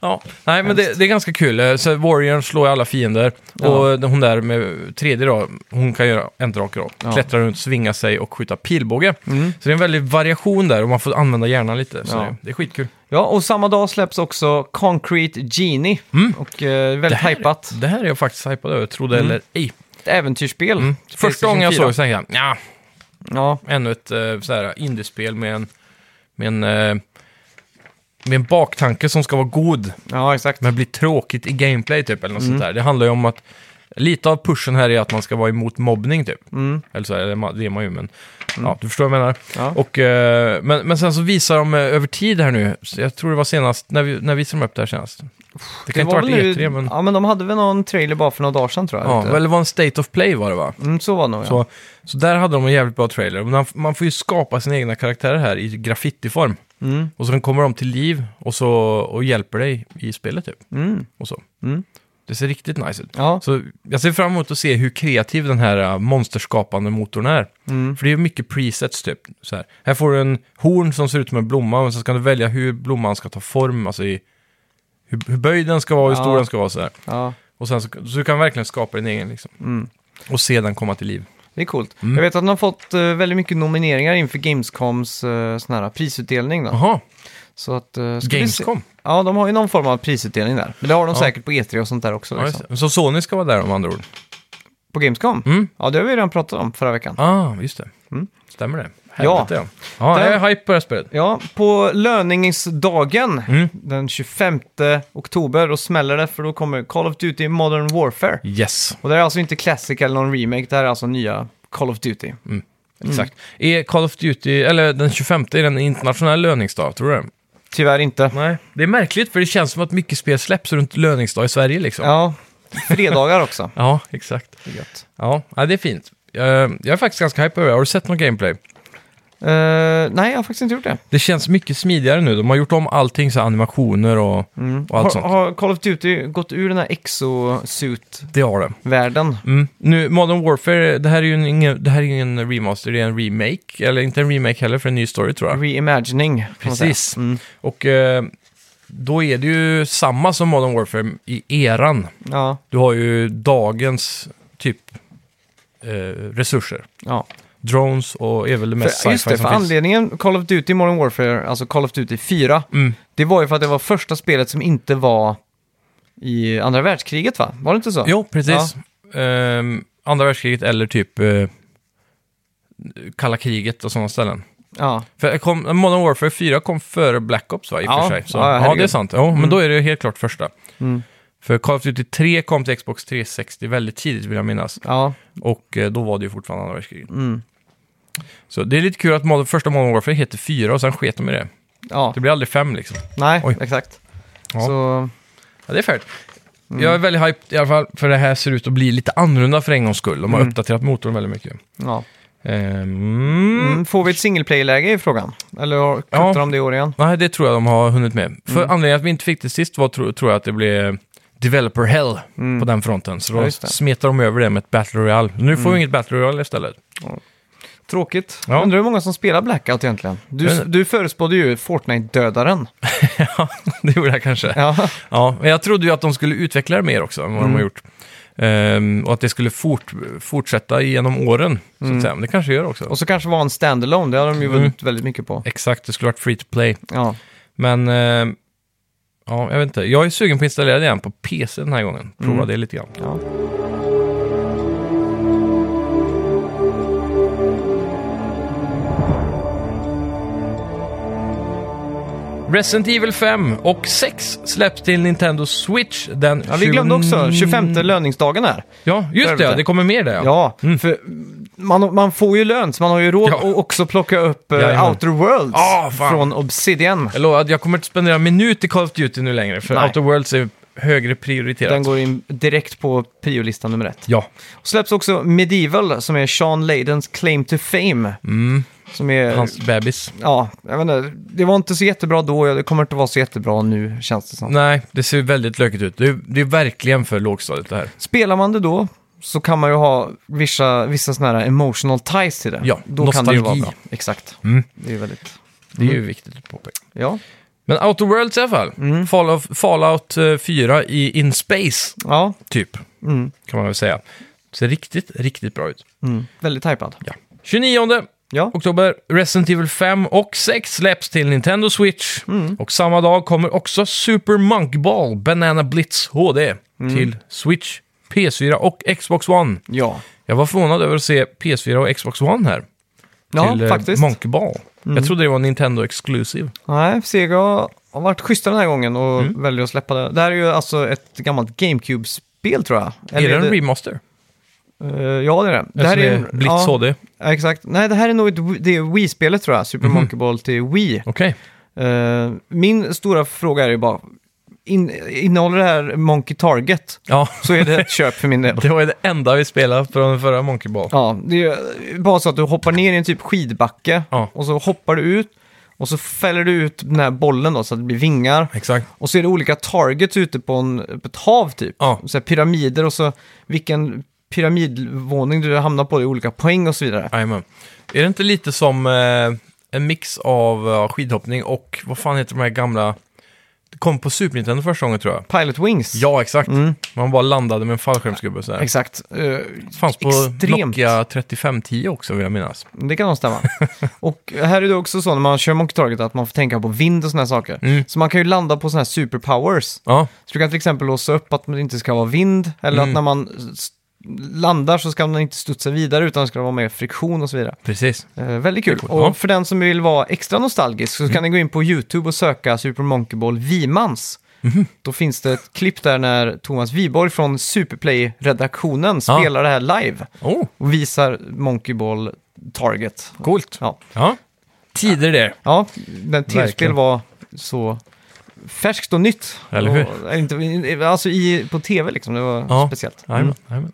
[SPEAKER 2] Ja, nej men det, det är ganska kul. Eh, Så Warrior slår ju alla fiender.
[SPEAKER 1] Ja.
[SPEAKER 2] Och eh, hon där med tredje då, hon kan göra en drake då.
[SPEAKER 1] Ja.
[SPEAKER 2] Klättra runt, svinga sig och skjuta pilbåge. Så det är en väldig variation där och man får använda hjärnan lite. Så
[SPEAKER 1] Ja.
[SPEAKER 2] det, det är skitkul.
[SPEAKER 1] ja, och samma dag släpps också Concrete Genie. Och eh, väldigt hajpat.
[SPEAKER 2] Mm. Det här är jag faktiskt hypad över, trodde eller ej.
[SPEAKER 1] Ett äventyrsspel.
[SPEAKER 2] Mm. Första gången jag såg Mm. det
[SPEAKER 1] 4.
[SPEAKER 2] så tänkte jag, ja,
[SPEAKER 1] Ja,
[SPEAKER 2] ännu ett eh, så här, indiespel med en, med, en, eh, med en baktanke som ska vara god.
[SPEAKER 1] ja exakt.
[SPEAKER 2] men blir tråkigt i gameplay typ eller något sånt
[SPEAKER 1] Mm.
[SPEAKER 2] där. Det handlar ju om att lite av pushen här är att man ska vara emot mobbning typ.
[SPEAKER 1] Mm.
[SPEAKER 2] Eller så här, eller ma- det är man ju men ja, du förstår vad jag menar.
[SPEAKER 1] Ja.
[SPEAKER 2] Och, eh, men, men sen så visar de eh, över tid här nu, så jag tror det var senast, när, vi, när visade de upp det här senast? Det kan inte
[SPEAKER 1] var
[SPEAKER 2] ha varit
[SPEAKER 1] väl nu-
[SPEAKER 2] E3 men... Ja,
[SPEAKER 1] Ja, men de hade väl någon trailer bara för några dagar sedan tror jag. vet du.
[SPEAKER 2] eller var en State of Play var det va?
[SPEAKER 1] mm, så var det nog ja.
[SPEAKER 2] Så, så där hade de en jävligt bra trailer. Man, f- man får ju skapa sina egna karaktärer här i graffitiform.
[SPEAKER 1] Mm.
[SPEAKER 2] Och så den kommer de till liv och, så, och hjälper dig i spelet typ.
[SPEAKER 1] Mm.
[SPEAKER 2] Och så.
[SPEAKER 1] Mm.
[SPEAKER 2] Det ser riktigt nice ut.
[SPEAKER 1] Ja.
[SPEAKER 2] Så jag ser fram emot att se hur kreativ den här äh, monsterskapande motorn är.
[SPEAKER 1] mm,
[SPEAKER 2] För det är ju mycket presets typ. Så här. här får du en horn som ser ut som en blomma, men så ska du välja hur blomman ska ta form, alltså i, hur, hur böjd den ska vara, hur
[SPEAKER 1] Ja.
[SPEAKER 2] stor den ska vara så här.
[SPEAKER 1] ja,
[SPEAKER 2] Och sen så, så du kan verkligen skapa din egen liksom.
[SPEAKER 1] Mm.
[SPEAKER 2] Och se den komma till liv.
[SPEAKER 1] det är coolt.
[SPEAKER 2] Mm.
[SPEAKER 1] Jag vet att de har fått eh, väldigt mycket nomineringar inför Gamescoms uh, sån här prisutdelning. Då.
[SPEAKER 2] Jaha,
[SPEAKER 1] Så att, eh, ska vi se-
[SPEAKER 2] Gamescom.
[SPEAKER 1] Ja, de har ju någon form av prisutdelning där. Men det har de
[SPEAKER 2] Ja.
[SPEAKER 1] säkert på E3 och sånt där också.
[SPEAKER 2] Ja,
[SPEAKER 1] Liksom.
[SPEAKER 2] just det. så Sony ska vara där om andra ord?
[SPEAKER 1] På Gamescom?
[SPEAKER 2] Mm.
[SPEAKER 1] Ja, det har vi redan pratat om förra veckan.
[SPEAKER 2] Ah, just det. Stämmer det?
[SPEAKER 1] Mm. Ja.
[SPEAKER 2] Helvete, ja. Ja, jag är hype på det här spelet.
[SPEAKER 1] Ja, på löningsdagen
[SPEAKER 2] Mm.
[SPEAKER 1] den 25 oktober, då smäller det för då kommer Call of Duty Modern Warfare.
[SPEAKER 2] Yes.
[SPEAKER 1] Och det är alltså inte Classic eller någon remake, det här är alltså nya Call of Duty.
[SPEAKER 2] Exakt. Är Call of Duty, eller den 25 är den internationell löningsdag, tror du det?
[SPEAKER 1] Tyvärr inte.
[SPEAKER 2] Nej. Det är märkligt, för det känns som att mycket spel släpps runt löningsdag i Sverige liksom.
[SPEAKER 1] Ja, fredagar också.
[SPEAKER 2] Ja, exakt.
[SPEAKER 1] Det är gött.
[SPEAKER 2] Ja, ja det är fint. Eh, Jag är faktiskt ganska hype över det. Har du sett någon gameplay?
[SPEAKER 1] Eh, nej, jag har faktiskt inte gjort det.
[SPEAKER 2] Det känns mycket smidigare nu. De har gjort om allting, så här animationer och, och allt
[SPEAKER 1] Har,
[SPEAKER 2] sånt.
[SPEAKER 1] har Call of Duty gått ur den här exosuit-världen?
[SPEAKER 2] Det har det. Mm. Nu, Modern Warfare, det här är ju en- ingen, det här är ju ingen remaster, det är en remake. Eller inte en remake heller, för en ny story
[SPEAKER 1] Mm.
[SPEAKER 2] tror jag.
[SPEAKER 1] Reimagining, kan man säga. Mm.
[SPEAKER 2] Precis. Och eh, då är det ju samma som Modern Warfare i eran.
[SPEAKER 1] Ja,
[SPEAKER 2] Du har ju dagens typ eh, resurser.
[SPEAKER 1] ja.
[SPEAKER 2] Drones och är väl det mest
[SPEAKER 1] För, just
[SPEAKER 2] sci-fi
[SPEAKER 1] det, för
[SPEAKER 2] som finns.
[SPEAKER 1] anledningen Call of Duty Modern Warfare, alltså Call of Duty 4,
[SPEAKER 2] Mm.
[SPEAKER 1] det var ju för att det var första spelet som inte var i andra världskriget va? Var det inte så?
[SPEAKER 2] Jo, precis. Ehm, andra världskriget eller typ eh, kalla kriget och sådana ställen.
[SPEAKER 1] Ja,
[SPEAKER 2] För jag kom, Modern Warfare 4 kom före Black Ops va, i och
[SPEAKER 1] Ja,
[SPEAKER 2] för sig. Så,
[SPEAKER 1] ja,
[SPEAKER 2] ja,
[SPEAKER 1] herregud. Mm.
[SPEAKER 2] det är sant. Ja, men då är det helt klart första. För Call of Duty 3 kom till Xbox 360 väldigt tidigt vill jag minnas.
[SPEAKER 1] ja, mm.
[SPEAKER 2] Och eh, då var det ju fortfarande andra världskriget. Så det är lite kul att mod- första Modern Warfare heter 4 och sen sket de i det.
[SPEAKER 1] ja.
[SPEAKER 2] Det blir aldrig 5 liksom.
[SPEAKER 1] nej,
[SPEAKER 2] Oj.
[SPEAKER 1] exakt.
[SPEAKER 2] Ja.
[SPEAKER 1] Så,
[SPEAKER 2] Ja, det är färdigt. Jag är väldigt hyped i alla fall, för det här ser ut att bli lite annorlunda för en gångs skull. De har
[SPEAKER 1] Mm.
[SPEAKER 2] uppdaterat motorn väldigt mycket.
[SPEAKER 1] ja.
[SPEAKER 2] Ehm,
[SPEAKER 1] Mm. Får vi ett single play-läge i frågan? Eller har- kuttar
[SPEAKER 2] Ja.
[SPEAKER 1] de det i år igen?
[SPEAKER 2] Nej, det tror jag de har hunnit med. För
[SPEAKER 1] Mm.
[SPEAKER 2] anledningen att vi inte fick det sist var, tro, tror jag, att det blev eh, developer hell på den fronten. Så
[SPEAKER 1] Mm. Ja,
[SPEAKER 2] då
[SPEAKER 1] just det. Mm.
[SPEAKER 2] smetar de över det med ett Battle Royale. Nu får vi inget Battle Royale istället.
[SPEAKER 1] Tråkigt.
[SPEAKER 2] Ja. Eh.
[SPEAKER 1] Undrar hur många som spelar Blackout egentligen? Du,
[SPEAKER 2] Men-
[SPEAKER 1] du förespådde ju Fortnite-dödaren.
[SPEAKER 2] det gjorde jag kanske.
[SPEAKER 1] Ja.
[SPEAKER 2] Ja, men jag trodde ju att de skulle utveckla det mer också än vad
[SPEAKER 1] Mm.
[SPEAKER 2] de har gjort. Ehm, och att det skulle fort, fortsätta genom åren, så att säga. Men det kanske gör också.
[SPEAKER 1] Mm. Och så kanske var en standalone, det har de ju
[SPEAKER 2] Mm.
[SPEAKER 1] vunnit väldigt mycket på.
[SPEAKER 2] Exakt, det skulle varit free to play.
[SPEAKER 1] Ja,
[SPEAKER 2] Men, ehm, ja, jag vet inte. Jag är sugen på att installera det igen på PC den här gången. Prova det lite grann.
[SPEAKER 1] Mm. ja.
[SPEAKER 2] Resident Evil 5 och 6 släpps till Nintendo Switch den
[SPEAKER 1] Ja, vi glömde också 25
[SPEAKER 2] Mm.
[SPEAKER 1] löningsdagen här.
[SPEAKER 2] Ja, just det. Ja, det kommer mer där. Ja. Mm.
[SPEAKER 1] Ja, för man, man får ju lön, så man har ju råd
[SPEAKER 2] Ja.
[SPEAKER 1] att också plocka upp eh,
[SPEAKER 2] Jajamän.
[SPEAKER 1] Outer Worlds
[SPEAKER 2] Ah, fan.
[SPEAKER 1] från Obsidian.
[SPEAKER 2] Jag lovar att jag kommer inte spendera en minut i Call of Duty nu längre, för
[SPEAKER 1] Nej.
[SPEAKER 2] Outer Worlds är högre prioriterat.
[SPEAKER 1] Den går in direkt på priolistan nummer ett.
[SPEAKER 2] Ja,
[SPEAKER 1] Och släpps också Medieval, som är Sean Leydens claim to fame. Som är...
[SPEAKER 2] Mm. hans bebis.
[SPEAKER 1] Ja, jag vet inte, det var inte så jättebra då, det kommer inte vara så jättebra nu, känns det som.
[SPEAKER 2] Nej, det ser väldigt lökigt ut. Det är, det är verkligen för lågstadiet det här.
[SPEAKER 1] Spelar man det då så kan man ju ha vissa, vissa sådana här emotional ties till det.
[SPEAKER 2] Ja,
[SPEAKER 1] då kan det ju vara
[SPEAKER 2] nostalgi.
[SPEAKER 1] bra. Exakt.
[SPEAKER 2] Mm.
[SPEAKER 1] Det är väldigt...
[SPEAKER 2] Det är ju viktigt att påpeka.
[SPEAKER 1] Ja.
[SPEAKER 2] Men Outer Worlds i alla fall. Fallout, Fallout eh, 4 i In Space,
[SPEAKER 1] Ja.
[SPEAKER 2] typ.
[SPEAKER 1] Mm.
[SPEAKER 2] Kan man väl säga. Ser riktigt, riktigt bra ut.
[SPEAKER 1] Mm. Väldigt hypad.
[SPEAKER 2] Ja. 29
[SPEAKER 1] Ja.
[SPEAKER 2] oktober, Resident Evil 5 och 6 släpps till Nintendo Switch. Och samma dag kommer också Super Monk Ball Banana Blitz HD till Switch, PS4 och Xbox One.
[SPEAKER 1] Ja.
[SPEAKER 2] Jag var förvånad över att se PS4 och Xbox One här.
[SPEAKER 1] Ja,
[SPEAKER 2] till eh,
[SPEAKER 1] faktiskt. Mm.
[SPEAKER 2] Monkey Ball. Jag trodde det var Nintendo Exclusive.
[SPEAKER 1] Nej, Sega har varit schyssta den här gången och
[SPEAKER 2] Mm.
[SPEAKER 1] väljer att släppa det. Det här är ju alltså ett gammalt GameCube-spel tror jag.
[SPEAKER 2] är det en
[SPEAKER 1] är
[SPEAKER 2] remaster? Alltså,
[SPEAKER 1] Eh, ja, det är det.
[SPEAKER 2] Det här är
[SPEAKER 1] en-
[SPEAKER 2] Blitz
[SPEAKER 1] ja,
[SPEAKER 2] HD.
[SPEAKER 1] ja, exakt. Nej, det här är nog ett, det är Wii-spelet tror jag.
[SPEAKER 2] Mhm.
[SPEAKER 1] Super Monkey Ball till Wii.
[SPEAKER 2] Okej.
[SPEAKER 1] Eh, min stora fråga är ju bara, in, innehåller det här Monkey Target?
[SPEAKER 2] Ja,
[SPEAKER 1] Så är det ett köp för min del.
[SPEAKER 2] det var ju det enda vi spelade från den förra Monkey Ball.
[SPEAKER 1] Ja, det är bara så att du hoppar ner i en typ skidbacke
[SPEAKER 2] Ja.
[SPEAKER 1] och så hoppar du ut och så fäller du ut den här bollen då så att det blir vingar.
[SPEAKER 2] Exakt.
[SPEAKER 1] Och så är det olika targets ute på, en, på ett hav typ.
[SPEAKER 2] Ja.
[SPEAKER 1] Så här pyramider och så vilken pyramidvåning du hamnar på, det är olika poäng och så vidare.
[SPEAKER 2] Jajamän. Är det inte lite som eh, en mix av eh, skidhoppning och vad fan heter de här gamla... Det kom på Super Nintendo första gången tror jag.
[SPEAKER 1] Pilot Wings.
[SPEAKER 2] Ja, exakt.
[SPEAKER 1] Mm.
[SPEAKER 2] Man bara landade med en fallskärmsgubbe så här.
[SPEAKER 1] Exakt. Eh,
[SPEAKER 2] Det fanns på
[SPEAKER 1] Extremt.
[SPEAKER 2] Nokia 3510 också vill jag minnas.
[SPEAKER 1] det kan nog stämma. och här är det också så när man kör Monkey Target att man får tänka på vind och sådana saker.
[SPEAKER 2] Mm.
[SPEAKER 1] Så man kan ju landa på sådana här superpowers.
[SPEAKER 2] Ja,
[SPEAKER 1] Så du kan till exempel låsa upp att det inte ska vara vind, eller
[SPEAKER 2] Mm.
[SPEAKER 1] att när man s- landar så ska man inte studsa vidare utan det ska vara mer friktion och så vidare.
[SPEAKER 2] precis.
[SPEAKER 1] Eh, väldigt kul.
[SPEAKER 2] coolt,
[SPEAKER 1] Och
[SPEAKER 2] ja.
[SPEAKER 1] för den som vill vara extra nostalgisk så kan ni gå in på YouTube och söka Super Monkey Ball Vimans.
[SPEAKER 2] Mhm.
[SPEAKER 1] Då finns det ett klipp där när Thomas Viborg från Superplay-redaktionen
[SPEAKER 2] Ja.
[SPEAKER 1] spelar det här live
[SPEAKER 2] Oh,
[SPEAKER 1] och visar Monkey Ball Target.
[SPEAKER 2] coolt.
[SPEAKER 1] Ja,
[SPEAKER 2] Ja. Tider det.
[SPEAKER 1] ja den tv-spel
[SPEAKER 2] Verkligen.
[SPEAKER 1] var så färskt och nytt.
[SPEAKER 2] Eller hur?
[SPEAKER 1] Och, eh, inte, alltså i, på tv liksom, det var
[SPEAKER 2] Ja.
[SPEAKER 1] speciellt.
[SPEAKER 2] Jajamän, jajamän.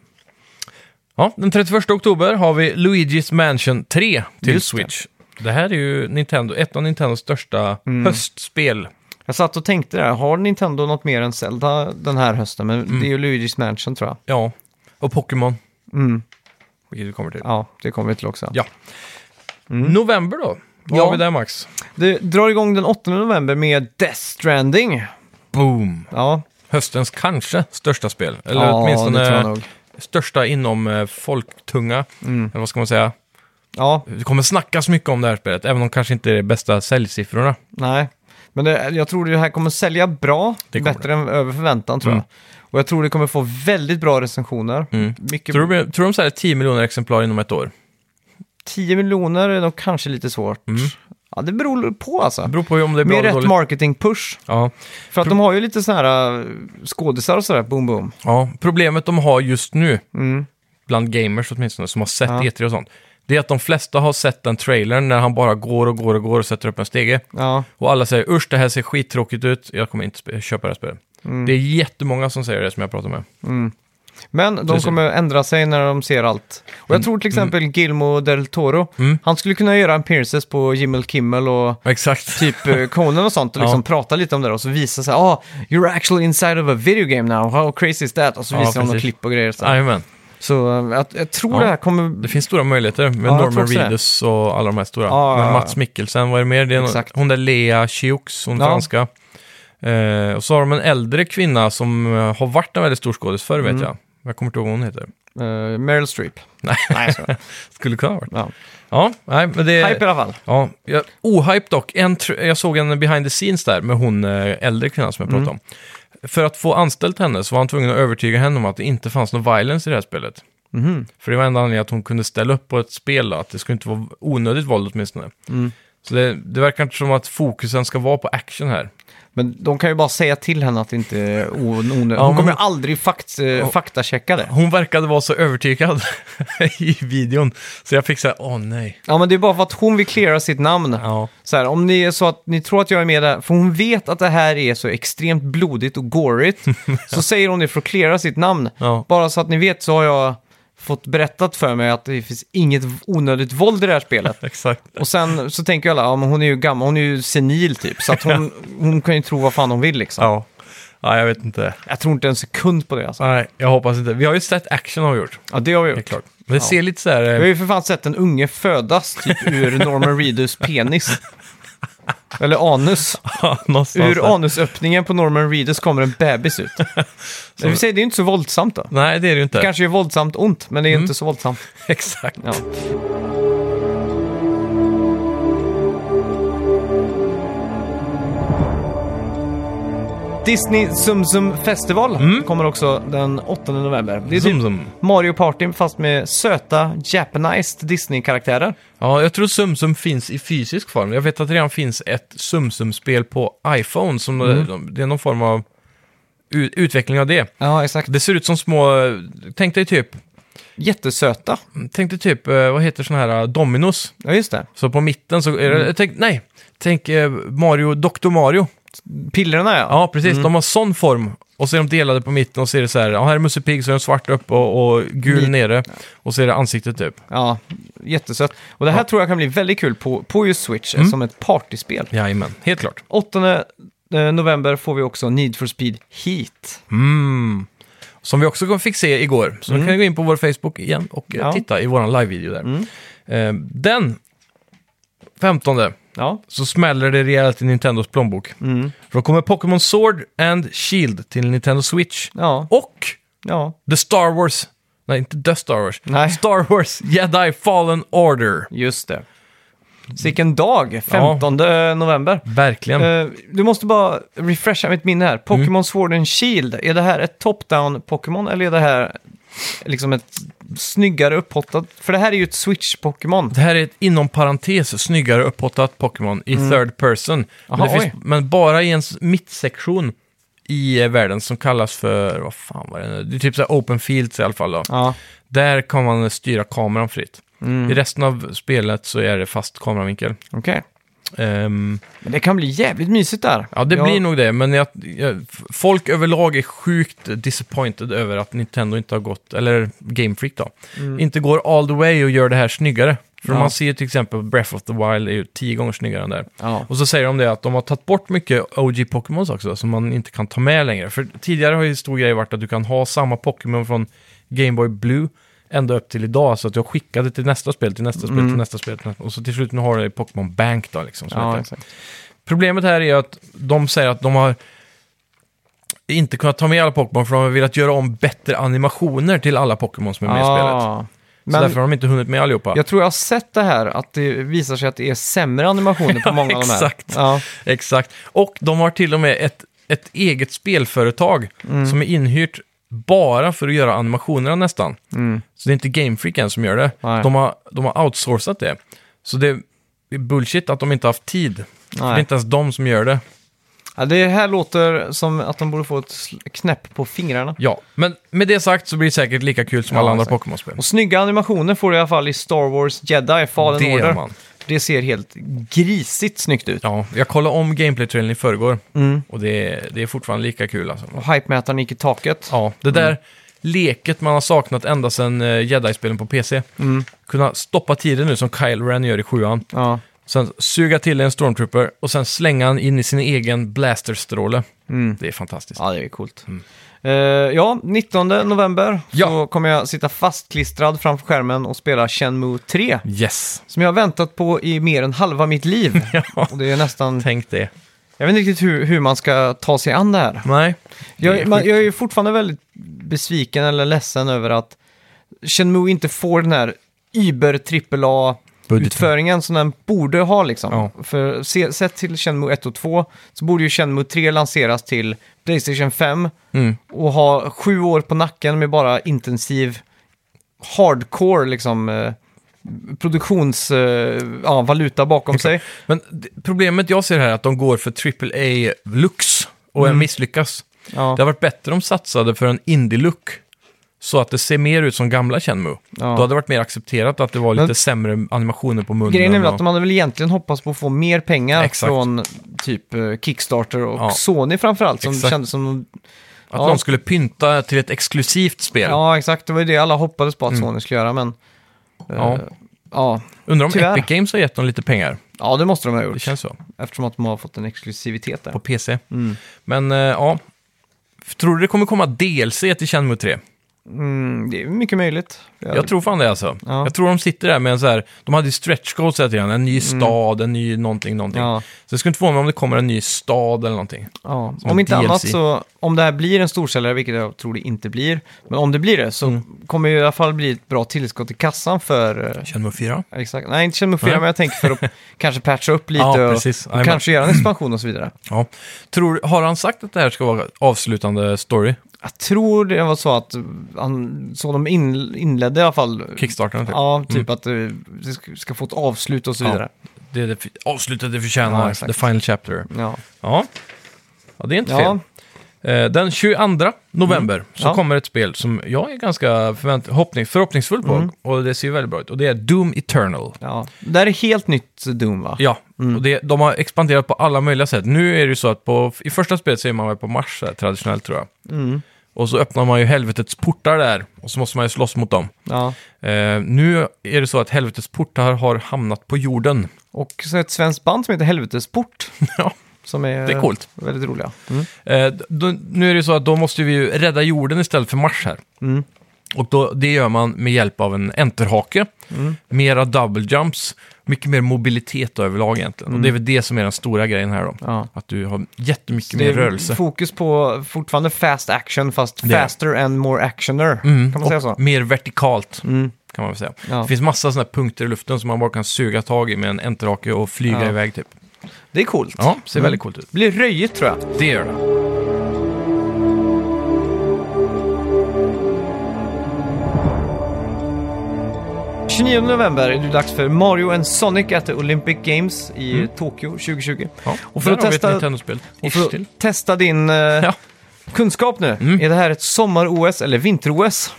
[SPEAKER 2] Ja, den 31 oktober har vi Luigi's Mansion 3 till
[SPEAKER 1] Just det.
[SPEAKER 2] Switch. Det. här är ju Nintendo, ett av Nintendos största
[SPEAKER 1] Mm.
[SPEAKER 2] höstspel.
[SPEAKER 1] Jag satt och tänkte där, har Nintendo något mer än Zelda den här hösten? Men
[SPEAKER 2] Mm.
[SPEAKER 1] det är ju Luigi's Mansion tror jag.
[SPEAKER 2] Ja, och Pokémon.
[SPEAKER 1] Mm.
[SPEAKER 2] Vilket vi kommer till.
[SPEAKER 1] Ja, det kommer vi till också.
[SPEAKER 2] Ja. November då? Vad
[SPEAKER 1] Mm. Ja.
[SPEAKER 2] har vi där Max?
[SPEAKER 1] Det drar igång den 8 november med Death Stranding.
[SPEAKER 2] Boom!
[SPEAKER 1] Ja,
[SPEAKER 2] Höstens kanske största spel. Eller
[SPEAKER 1] ja det tror jag
[SPEAKER 2] åtminstone
[SPEAKER 1] nog. Mm.
[SPEAKER 2] största inom eh, folktunga. Eller vad ska man säga?
[SPEAKER 1] Ja,
[SPEAKER 2] Det kommer snackas mycket om det här spelet, även om det kanske inte är de bästa säljsiffrorna.
[SPEAKER 1] nej. Men det, jag tror det här kommer sälja bra,
[SPEAKER 2] Det kommer
[SPEAKER 1] bättre än över förväntan tror
[SPEAKER 2] Mm.
[SPEAKER 1] jag. Och jag tror det kommer få väldigt bra recensioner.
[SPEAKER 2] Mm.
[SPEAKER 1] Mycket,
[SPEAKER 2] Tror du, tror du de säljer 10 miljoner exemplar inom ett år?
[SPEAKER 1] 10 miljoner är nog kanske lite svårt.
[SPEAKER 2] Mm.
[SPEAKER 1] Ja, det beror på alltså.
[SPEAKER 2] Det beror på om det är bra
[SPEAKER 1] Med
[SPEAKER 2] eller
[SPEAKER 1] rätt
[SPEAKER 2] dåligt.
[SPEAKER 1] marketing-push.
[SPEAKER 2] Ja.
[SPEAKER 1] För att de har ju lite sådana här eh, skådisar och sådär, boom boom.
[SPEAKER 2] ja, problemet de har just nu,
[SPEAKER 1] Mm.
[SPEAKER 2] bland gamers åtminstone, som har sett
[SPEAKER 1] Ja.
[SPEAKER 2] E3 och sånt, det är att de flesta har sett den trailern när han bara går och går och går och sätter upp en stege.
[SPEAKER 1] Ja,
[SPEAKER 2] Och alla säger usch, det här ser skittråkigt ut, jag kommer inte spe- köpa det här spelet.
[SPEAKER 1] Mm.
[SPEAKER 2] Det är jättemånga som säger det som jag pratar med.
[SPEAKER 1] men de
[SPEAKER 2] Precis.
[SPEAKER 1] kommer ändra sig när de ser allt. Och jag tror till exempel Guillermo del Toro,
[SPEAKER 2] Mm.
[SPEAKER 1] han skulle kunna göra en appearances på Jimmy Kimmel och
[SPEAKER 2] Exakt.
[SPEAKER 1] typ eh, Conan och sånt och
[SPEAKER 2] Ja.
[SPEAKER 1] liksom prata lite om det och så visa så här, ah, you're actually inside of a video game now, how crazy is that? Och så
[SPEAKER 2] Ja,
[SPEAKER 1] visar de några
[SPEAKER 2] precis.
[SPEAKER 1] klipp och grejer. Så, här.
[SPEAKER 2] Jajamän.
[SPEAKER 1] så eh, jag, jag tror
[SPEAKER 2] Ja.
[SPEAKER 1] det här kommer...
[SPEAKER 2] Det finns stora möjligheter med
[SPEAKER 1] jag tror
[SPEAKER 2] Norman
[SPEAKER 1] också det.
[SPEAKER 2] Reedus och alla de här stora.
[SPEAKER 1] Ja, ja,
[SPEAKER 2] Men
[SPEAKER 1] ja.
[SPEAKER 2] Mats Mikkelsen, vad är det mer? Det är någon,
[SPEAKER 1] Exakt.
[SPEAKER 2] hon där Lea Chiux, hon
[SPEAKER 1] Ja.
[SPEAKER 2] franska. Eh, och så har de en äldre kvinna som eh, har varit en väldigt stor skådis förr,
[SPEAKER 1] Mm.
[SPEAKER 2] vet jag. Jag kommer inte ihåg vad hon heter.
[SPEAKER 1] eh, Meryl Streep.
[SPEAKER 2] Nej.
[SPEAKER 1] Nej, så.
[SPEAKER 2] Skulle kunna ha varit.
[SPEAKER 1] Ja.
[SPEAKER 2] Ja, nej, men det...
[SPEAKER 1] Hype i alla fall.
[SPEAKER 2] Ja, jag, ohype dock. En, tr- jag såg en behind the scenes där med hon eh, äldre kvinnan som jag pratade om. För att få anställt henne så var han tvungen att övertyga henne om att det inte fanns någon violence i det här spelet.
[SPEAKER 1] Mhm.
[SPEAKER 2] För det var enda anledningen att hon kunde ställa upp på ett spel, då, att det skulle inte vara onödigt våld åtminstone. Så det, det verkar inte som att fokusen ska vara på action här.
[SPEAKER 1] Men de kan ju bara säga till henne att det inte är onödigt.
[SPEAKER 2] Ja,
[SPEAKER 1] Hon
[SPEAKER 2] men-
[SPEAKER 1] kommer ju aldrig fakt, eh, faktachecka det.
[SPEAKER 2] Hon verkade vara så övertygad i videon, så jag fick säga åh nej.
[SPEAKER 1] Ja, men det är bara för att hon vill cleara sitt namn.
[SPEAKER 2] Ja.
[SPEAKER 1] Så här, om ni är så att ni tror att jag är med där, för hon vet att det här är så extremt blodigt och gorigt, så säger hon det för att klära sitt namn.
[SPEAKER 2] Ja.
[SPEAKER 1] Bara så att ni vet så har jag fått berättat för mig att det finns inget onödigt våld i det här spelet.
[SPEAKER 2] Exakt.
[SPEAKER 1] Och sen så tänker ju alla, ja men hon är ju gammal, hon är ju senil typ, så att hon, hon kan ju tro vad fan hon vill liksom.
[SPEAKER 2] Ja. ja, jag vet inte.
[SPEAKER 1] Jag tror inte en sekund på det alltså.
[SPEAKER 2] Nej, jag hoppas inte. Vi har ju sett action har vi gjort.
[SPEAKER 1] Ja, det har vi
[SPEAKER 2] Det är
[SPEAKER 1] gjort.
[SPEAKER 2] klart. Men det
[SPEAKER 1] Ja.
[SPEAKER 2] ser lite så här...
[SPEAKER 1] Jag
[SPEAKER 2] eh,
[SPEAKER 1] har ju för fan sett en unge födas typ ur Norman Reedus penis. Eller anus.
[SPEAKER 2] någonstans där.
[SPEAKER 1] Ur anusöppningen på Norman Reedus kommer en bebis ut. Det, vill säga, det är inte så våldsamt då.
[SPEAKER 2] Nej, det är det ju inte.
[SPEAKER 1] Kanske är våldsamt ont, men det är inte så våldsamt.
[SPEAKER 2] Exakt.
[SPEAKER 1] Ja. Disney Zum Zum Festival kommer också den 8 november. Det är
[SPEAKER 2] Zum
[SPEAKER 1] typ
[SPEAKER 2] Zum.
[SPEAKER 1] Mario Party fast med söta, japanized Disney-karaktärer.
[SPEAKER 2] Ja, jag tror Sumsum finns i fysisk form. Jag vet att det redan finns ett Sumsum-spel på iPhone. Som eh,
[SPEAKER 1] Mm.
[SPEAKER 2] de- Det är någon form av u- utveckling av det.
[SPEAKER 1] Ja, exakt.
[SPEAKER 2] Det ser ut som små... eh, Tänk dig typ...
[SPEAKER 1] Jättesöta.
[SPEAKER 2] Tänk dig typ... eh, Vad heter sådana här eh, dominos?
[SPEAKER 1] Ja, just det.
[SPEAKER 2] Så på mitten så är det...
[SPEAKER 1] Mm.
[SPEAKER 2] Tänk, nej! Tänk eh, Mario... Dr. Mario.
[SPEAKER 1] Pillerna ja.
[SPEAKER 2] Ja, precis. De har sån form. Och så är de delade på mitten och så är det så här... Ja, här är Musse Pig, så är den svart upp och, och gul
[SPEAKER 1] Ni-
[SPEAKER 2] nere. Och så är det ansiktet typ.
[SPEAKER 1] Ja, jättesött. Och det här tror jag kan bli väldigt kul på, på just Switch,
[SPEAKER 2] Mm.
[SPEAKER 1] som ett partyspel.
[SPEAKER 2] Jajamän, helt klart.
[SPEAKER 1] 8 eh, november får vi också Need for Speed Heat.
[SPEAKER 2] Mm. Som vi också fick se igår. Så då kan ni gå in på vår Facebook igen och eh,
[SPEAKER 1] Mm. Ja. Mm.
[SPEAKER 2] titta i vår live-video där. Eh, Den 15
[SPEAKER 1] Ja,
[SPEAKER 2] så smäller det rejält i Nintendos plånbok.
[SPEAKER 1] Mm.
[SPEAKER 2] För då kommer Pokémon Sword and Shield till Nintendo Switch.
[SPEAKER 1] ja,
[SPEAKER 2] Och
[SPEAKER 1] ja.
[SPEAKER 2] The Star Wars, nej inte The Star Wars,
[SPEAKER 1] Nej.
[SPEAKER 2] Star Wars Jedi Fallen Order.
[SPEAKER 1] Just det. Så vilken dag, 15 november.
[SPEAKER 2] Verkligen.
[SPEAKER 1] Eh, du måste bara refresha mitt minne
[SPEAKER 2] Mm.
[SPEAKER 1] här. Pokémon Sword and Shield, är det här ett top-down Pokémon eller är det här liksom ett snyggare upphottat? För det här är ju ett Switch-Pokémon.
[SPEAKER 2] Det här är ett inom parentes snyggare upphottat Pokémon i third person.
[SPEAKER 1] Aha,
[SPEAKER 2] men, det finns,
[SPEAKER 1] Mm. oj.
[SPEAKER 2] men bara i en s- mittsektion i eh, världen som kallas för, vad fan var det nu? Det är typ så här open fields i alla fall då.
[SPEAKER 1] Ja, mm,
[SPEAKER 2] Där kan man eh, styra kameran fritt. I resten av spelet så är det fast kameravinkel.
[SPEAKER 1] okej.
[SPEAKER 2] Ehm,
[SPEAKER 1] Men det kan bli jävligt mysigt där.
[SPEAKER 2] ja, det
[SPEAKER 1] Jag-
[SPEAKER 2] blir nog det, men jag, jag, folk överlag är sjukt disappointed över att Nintendo inte har gått, eller Game Freak då, inte går all the way och gör det här snyggare. För
[SPEAKER 1] Mm. Ja.
[SPEAKER 2] man ser ju till exempel Breath of the Wild är ju tio gånger snyggare än där.
[SPEAKER 1] Ja.
[SPEAKER 2] Och så säger de det att de har tagit bort mycket OG Pokémons också, som man inte kan ta med längre. För tidigare har ju stor grej varit att du kan ha samma Pokémon från Game Boy Blue ända upp till idag, så att jag skickade till nästa spel, till nästa spel, till nästa spel. Till nästa. Och så till slut nu har du Pokémon Bank då, liksom. som
[SPEAKER 1] Mm. Ja,
[SPEAKER 2] heter.
[SPEAKER 1] exakt.
[SPEAKER 2] Problemet här är att de säger att de har inte kunnat ta med alla Pokémon, för de har velat göra om bättre animationer till alla Pokémon som är med i spelet.
[SPEAKER 1] Ah.
[SPEAKER 2] Så
[SPEAKER 1] Men
[SPEAKER 2] därför har de inte hunnit med allihopa.
[SPEAKER 1] jag tror jag har sett det här, att det visar sig att det är sämre animationer på många av de här.
[SPEAKER 2] exakt.
[SPEAKER 1] Ja,
[SPEAKER 2] Exakt. Och de har till och med ett, ett eget spelföretag
[SPEAKER 1] Mm.
[SPEAKER 2] som är inhyrt bara för att göra animationerna nästan. Så det är inte Game Freak än som gör det.
[SPEAKER 1] Mm. Nej.
[SPEAKER 2] De har, de har outsourcat det. Så det är bullshit att de inte haft tid. För Det är inte ens de som gör det.
[SPEAKER 1] Ja, det här låter som att de borde få ett sl- knäpp på fingrarna.
[SPEAKER 2] Ja, men med det sagt så blir det säkert lika kul som
[SPEAKER 1] Ja,
[SPEAKER 2] alla andra
[SPEAKER 1] exakt.
[SPEAKER 2] Pokémon-spel.
[SPEAKER 1] Och snygga animationer får du i alla fall i Star Wars Jedi Fallen
[SPEAKER 2] Det gör
[SPEAKER 1] Order.
[SPEAKER 2] man.
[SPEAKER 1] Det ser helt grisigt snyggt ut.
[SPEAKER 2] Ja, jag kollade om gameplay-trailern i förrgår
[SPEAKER 1] Mm.
[SPEAKER 2] och det är, det är fortfarande lika kul alltså.
[SPEAKER 1] Och hypemätaren gick i taket.
[SPEAKER 2] Ja, det där
[SPEAKER 1] Mm.
[SPEAKER 2] leket man har saknat ända sedan eh, Jedi-spelen på PC.
[SPEAKER 1] Mm.
[SPEAKER 2] Kunna stoppa tiden nu som Kyle Ren gör i sjuan.
[SPEAKER 1] Ja.
[SPEAKER 2] Sen suga till en stormtrooper och sen slänga han in i sin egen blasterstråle. Det är fantastiskt.
[SPEAKER 1] Mm. Ja, det är coolt. Eh, ja, 19 november så
[SPEAKER 2] Mm. Ja.
[SPEAKER 1] kommer jag sitta fastklistrad framför skärmen och spela Shenmue 3.
[SPEAKER 2] Yes,
[SPEAKER 1] Som jag har väntat på i mer än halva mitt liv.
[SPEAKER 2] Ja.
[SPEAKER 1] Och det är nästan...
[SPEAKER 2] tänk det.
[SPEAKER 1] Jag vet inte riktigt hur, hur man ska ta sig an det här.
[SPEAKER 2] Nej,
[SPEAKER 1] Jag,
[SPEAKER 2] Det är
[SPEAKER 1] är- man, jag är ju fortfarande väldigt besviken eller ledsen över att Shenmue inte får den här Uber AAA
[SPEAKER 2] Budgeten.
[SPEAKER 1] utföringen som den borde ha liksom.
[SPEAKER 2] Ja.
[SPEAKER 1] För se, sett till Shenmue 1 och 2 så borde ju Shenmue 3 lanseras till Playstation 5
[SPEAKER 2] Mm.
[SPEAKER 1] och ha sju år på nacken med bara intensiv hardcore liksom eh, produktionsvaluta ja, valuta bakom sig.
[SPEAKER 2] Men d- problemet jag ser här är att de går för AAA lux och
[SPEAKER 1] Mm.
[SPEAKER 2] en misslyckas.
[SPEAKER 1] Ja,
[SPEAKER 2] Det hade varit bättre om de satsade för en indie-look. Så att det ser mer ut som gamla Chenmu.
[SPEAKER 1] Ja.
[SPEAKER 2] Då hade det varit mer accepterat att det var lite
[SPEAKER 1] Men-
[SPEAKER 2] sämre animationer på munnen.
[SPEAKER 1] Grejen är väl
[SPEAKER 2] och-
[SPEAKER 1] att de hade väl egentligen hoppats på att få mer pengar
[SPEAKER 2] Exakt.
[SPEAKER 1] från typ eh, Kickstarter och
[SPEAKER 2] Ja.
[SPEAKER 1] Sony framförallt som
[SPEAKER 2] Exakt.
[SPEAKER 1] kändes som...
[SPEAKER 2] Att
[SPEAKER 1] Ja.
[SPEAKER 2] någon skulle pynta till ett exklusivt spel.
[SPEAKER 1] Ja, exakt. Det var ju det alla hoppades på att
[SPEAKER 2] Mm.
[SPEAKER 1] Sony skulle göra, men... eh,
[SPEAKER 2] Ja.
[SPEAKER 1] ja.
[SPEAKER 2] Undrar om
[SPEAKER 1] Tyvärr.
[SPEAKER 2] Epic Games har gett dem lite pengar.
[SPEAKER 1] Ja, det måste de ha gjort.
[SPEAKER 2] Det känns så.
[SPEAKER 1] Eftersom att de har fått en exklusivitet där.
[SPEAKER 2] På PC.
[SPEAKER 1] Mm.
[SPEAKER 2] Men eh, ja. Tror du det kommer komma DLC till Shenmue 3?
[SPEAKER 1] Mm, det är mycket möjligt.
[SPEAKER 2] Jag tror fan det alltså.
[SPEAKER 1] Ja. Mm.
[SPEAKER 2] Jag tror de sitter där med en så här, de hade ju stretch goals hela tiden, en ny stad, en ny någonting, någonting.
[SPEAKER 1] Ja.
[SPEAKER 2] Så jag skulle inte förvåna mig om det kommer en ny stad eller någonting.
[SPEAKER 1] Ja.
[SPEAKER 2] en
[SPEAKER 1] Om inte
[SPEAKER 2] DLC.
[SPEAKER 1] annat så, om det här blir en storsäljare, vilket jag tror det inte blir, men om det blir det så
[SPEAKER 2] Mm.
[SPEAKER 1] kommer det i alla fall bli ett bra tillskott i kassan för... eh,
[SPEAKER 2] Shenmue 4?
[SPEAKER 1] Exakt. Nej, inte Chelmufia,
[SPEAKER 2] Nej.
[SPEAKER 1] men jag tänker för att kanske patcha upp lite
[SPEAKER 2] Ja,
[SPEAKER 1] och,
[SPEAKER 2] precis.
[SPEAKER 1] och
[SPEAKER 2] Jajamän.
[SPEAKER 1] kanske göra en expansion och så vidare.
[SPEAKER 2] Ja. Tror, har han sagt att det här ska vara avslutande story?
[SPEAKER 1] Jag tror det var så att han, så de in, inledde i alla fall.
[SPEAKER 2] Kickstarten? Typ.
[SPEAKER 1] Ja, typ att eh, det ska- ska få ett avslut och så
[SPEAKER 2] Ja.
[SPEAKER 1] vidare.
[SPEAKER 2] Det är det f- avslutade förtjänar,
[SPEAKER 1] Ja, exakt.
[SPEAKER 2] the final chapter.
[SPEAKER 1] Ja.
[SPEAKER 2] Ja. ja, det är inte fel.
[SPEAKER 1] Ja. Mm.
[SPEAKER 2] Eh, Den 22 november så
[SPEAKER 1] Ja.
[SPEAKER 2] kommer ett spel som jag är ganska förvänt- hoppning, förhoppningsfull
[SPEAKER 1] Mm.
[SPEAKER 2] på. Och det ser ju väldigt bra ut. Och det är Doom Eternal.
[SPEAKER 1] ja. Det här är helt nytt Doom, va?
[SPEAKER 2] Ja, och det, de har expanderat på alla möjliga sätt. Nu är det ju så att på, i första spelet så är man väl på Mars så här, traditionellt tror jag.
[SPEAKER 1] Mm.
[SPEAKER 2] Och så öppnar man ju helvetets portar där och så måste man ju slåss mot dem.
[SPEAKER 1] ja.
[SPEAKER 2] Eh, nu är det så att helvetets portar har hamnat på jorden.
[SPEAKER 1] Och så ett svenskt band som heter Helvetesport.
[SPEAKER 2] Ja.
[SPEAKER 1] Som är,
[SPEAKER 2] Det är coolt.
[SPEAKER 1] väldigt roliga. Mm.
[SPEAKER 2] Eh, d- då, nu är det så att då måste vi ju rädda jorden istället för Mars här.
[SPEAKER 1] Mm.
[SPEAKER 2] Och då, det gör man med hjälp av en enterhake,
[SPEAKER 1] Mm.
[SPEAKER 2] mera double jumps, mycket mer mobilitet då överlag egentligen. Och det är väl det som är den stora grejen här då.
[SPEAKER 1] Mm. Ja.
[SPEAKER 2] Att du har jättemycket
[SPEAKER 1] Det
[SPEAKER 2] mer
[SPEAKER 1] är
[SPEAKER 2] rörelse.
[SPEAKER 1] fokus på fortfarande fast action, fast
[SPEAKER 2] Det Mm. är det.
[SPEAKER 1] faster and more actioner. Kan man säga så? Mm.
[SPEAKER 2] Mer vertikalt, kan man väl säga.
[SPEAKER 1] Ja.
[SPEAKER 2] Det finns massa sådana här punkter i luften som man bara kan suga tag i med en enterhake och flyga
[SPEAKER 1] Ja.
[SPEAKER 2] iväg typ.
[SPEAKER 1] Det är coolt.
[SPEAKER 2] Ja, ser
[SPEAKER 1] Mm.
[SPEAKER 2] väldigt coolt ut.
[SPEAKER 1] blir röjigt tror jag.
[SPEAKER 2] Det gör det.
[SPEAKER 1] Mm. 29 november är det dags för Mario and Sonic at the Olympic Games i Tokyo 2020.
[SPEAKER 2] Mm. Ja.
[SPEAKER 1] Och för
[SPEAKER 2] där
[SPEAKER 1] att
[SPEAKER 2] har vi ett
[SPEAKER 1] testa-
[SPEAKER 2] Nintendo-spel.
[SPEAKER 1] Och
[SPEAKER 2] Ish
[SPEAKER 1] för
[SPEAKER 2] till.
[SPEAKER 1] att testa din eh,
[SPEAKER 2] Ja. Mm.
[SPEAKER 1] kunskap nu. Är det här ett sommar-OS eller vinter-OS?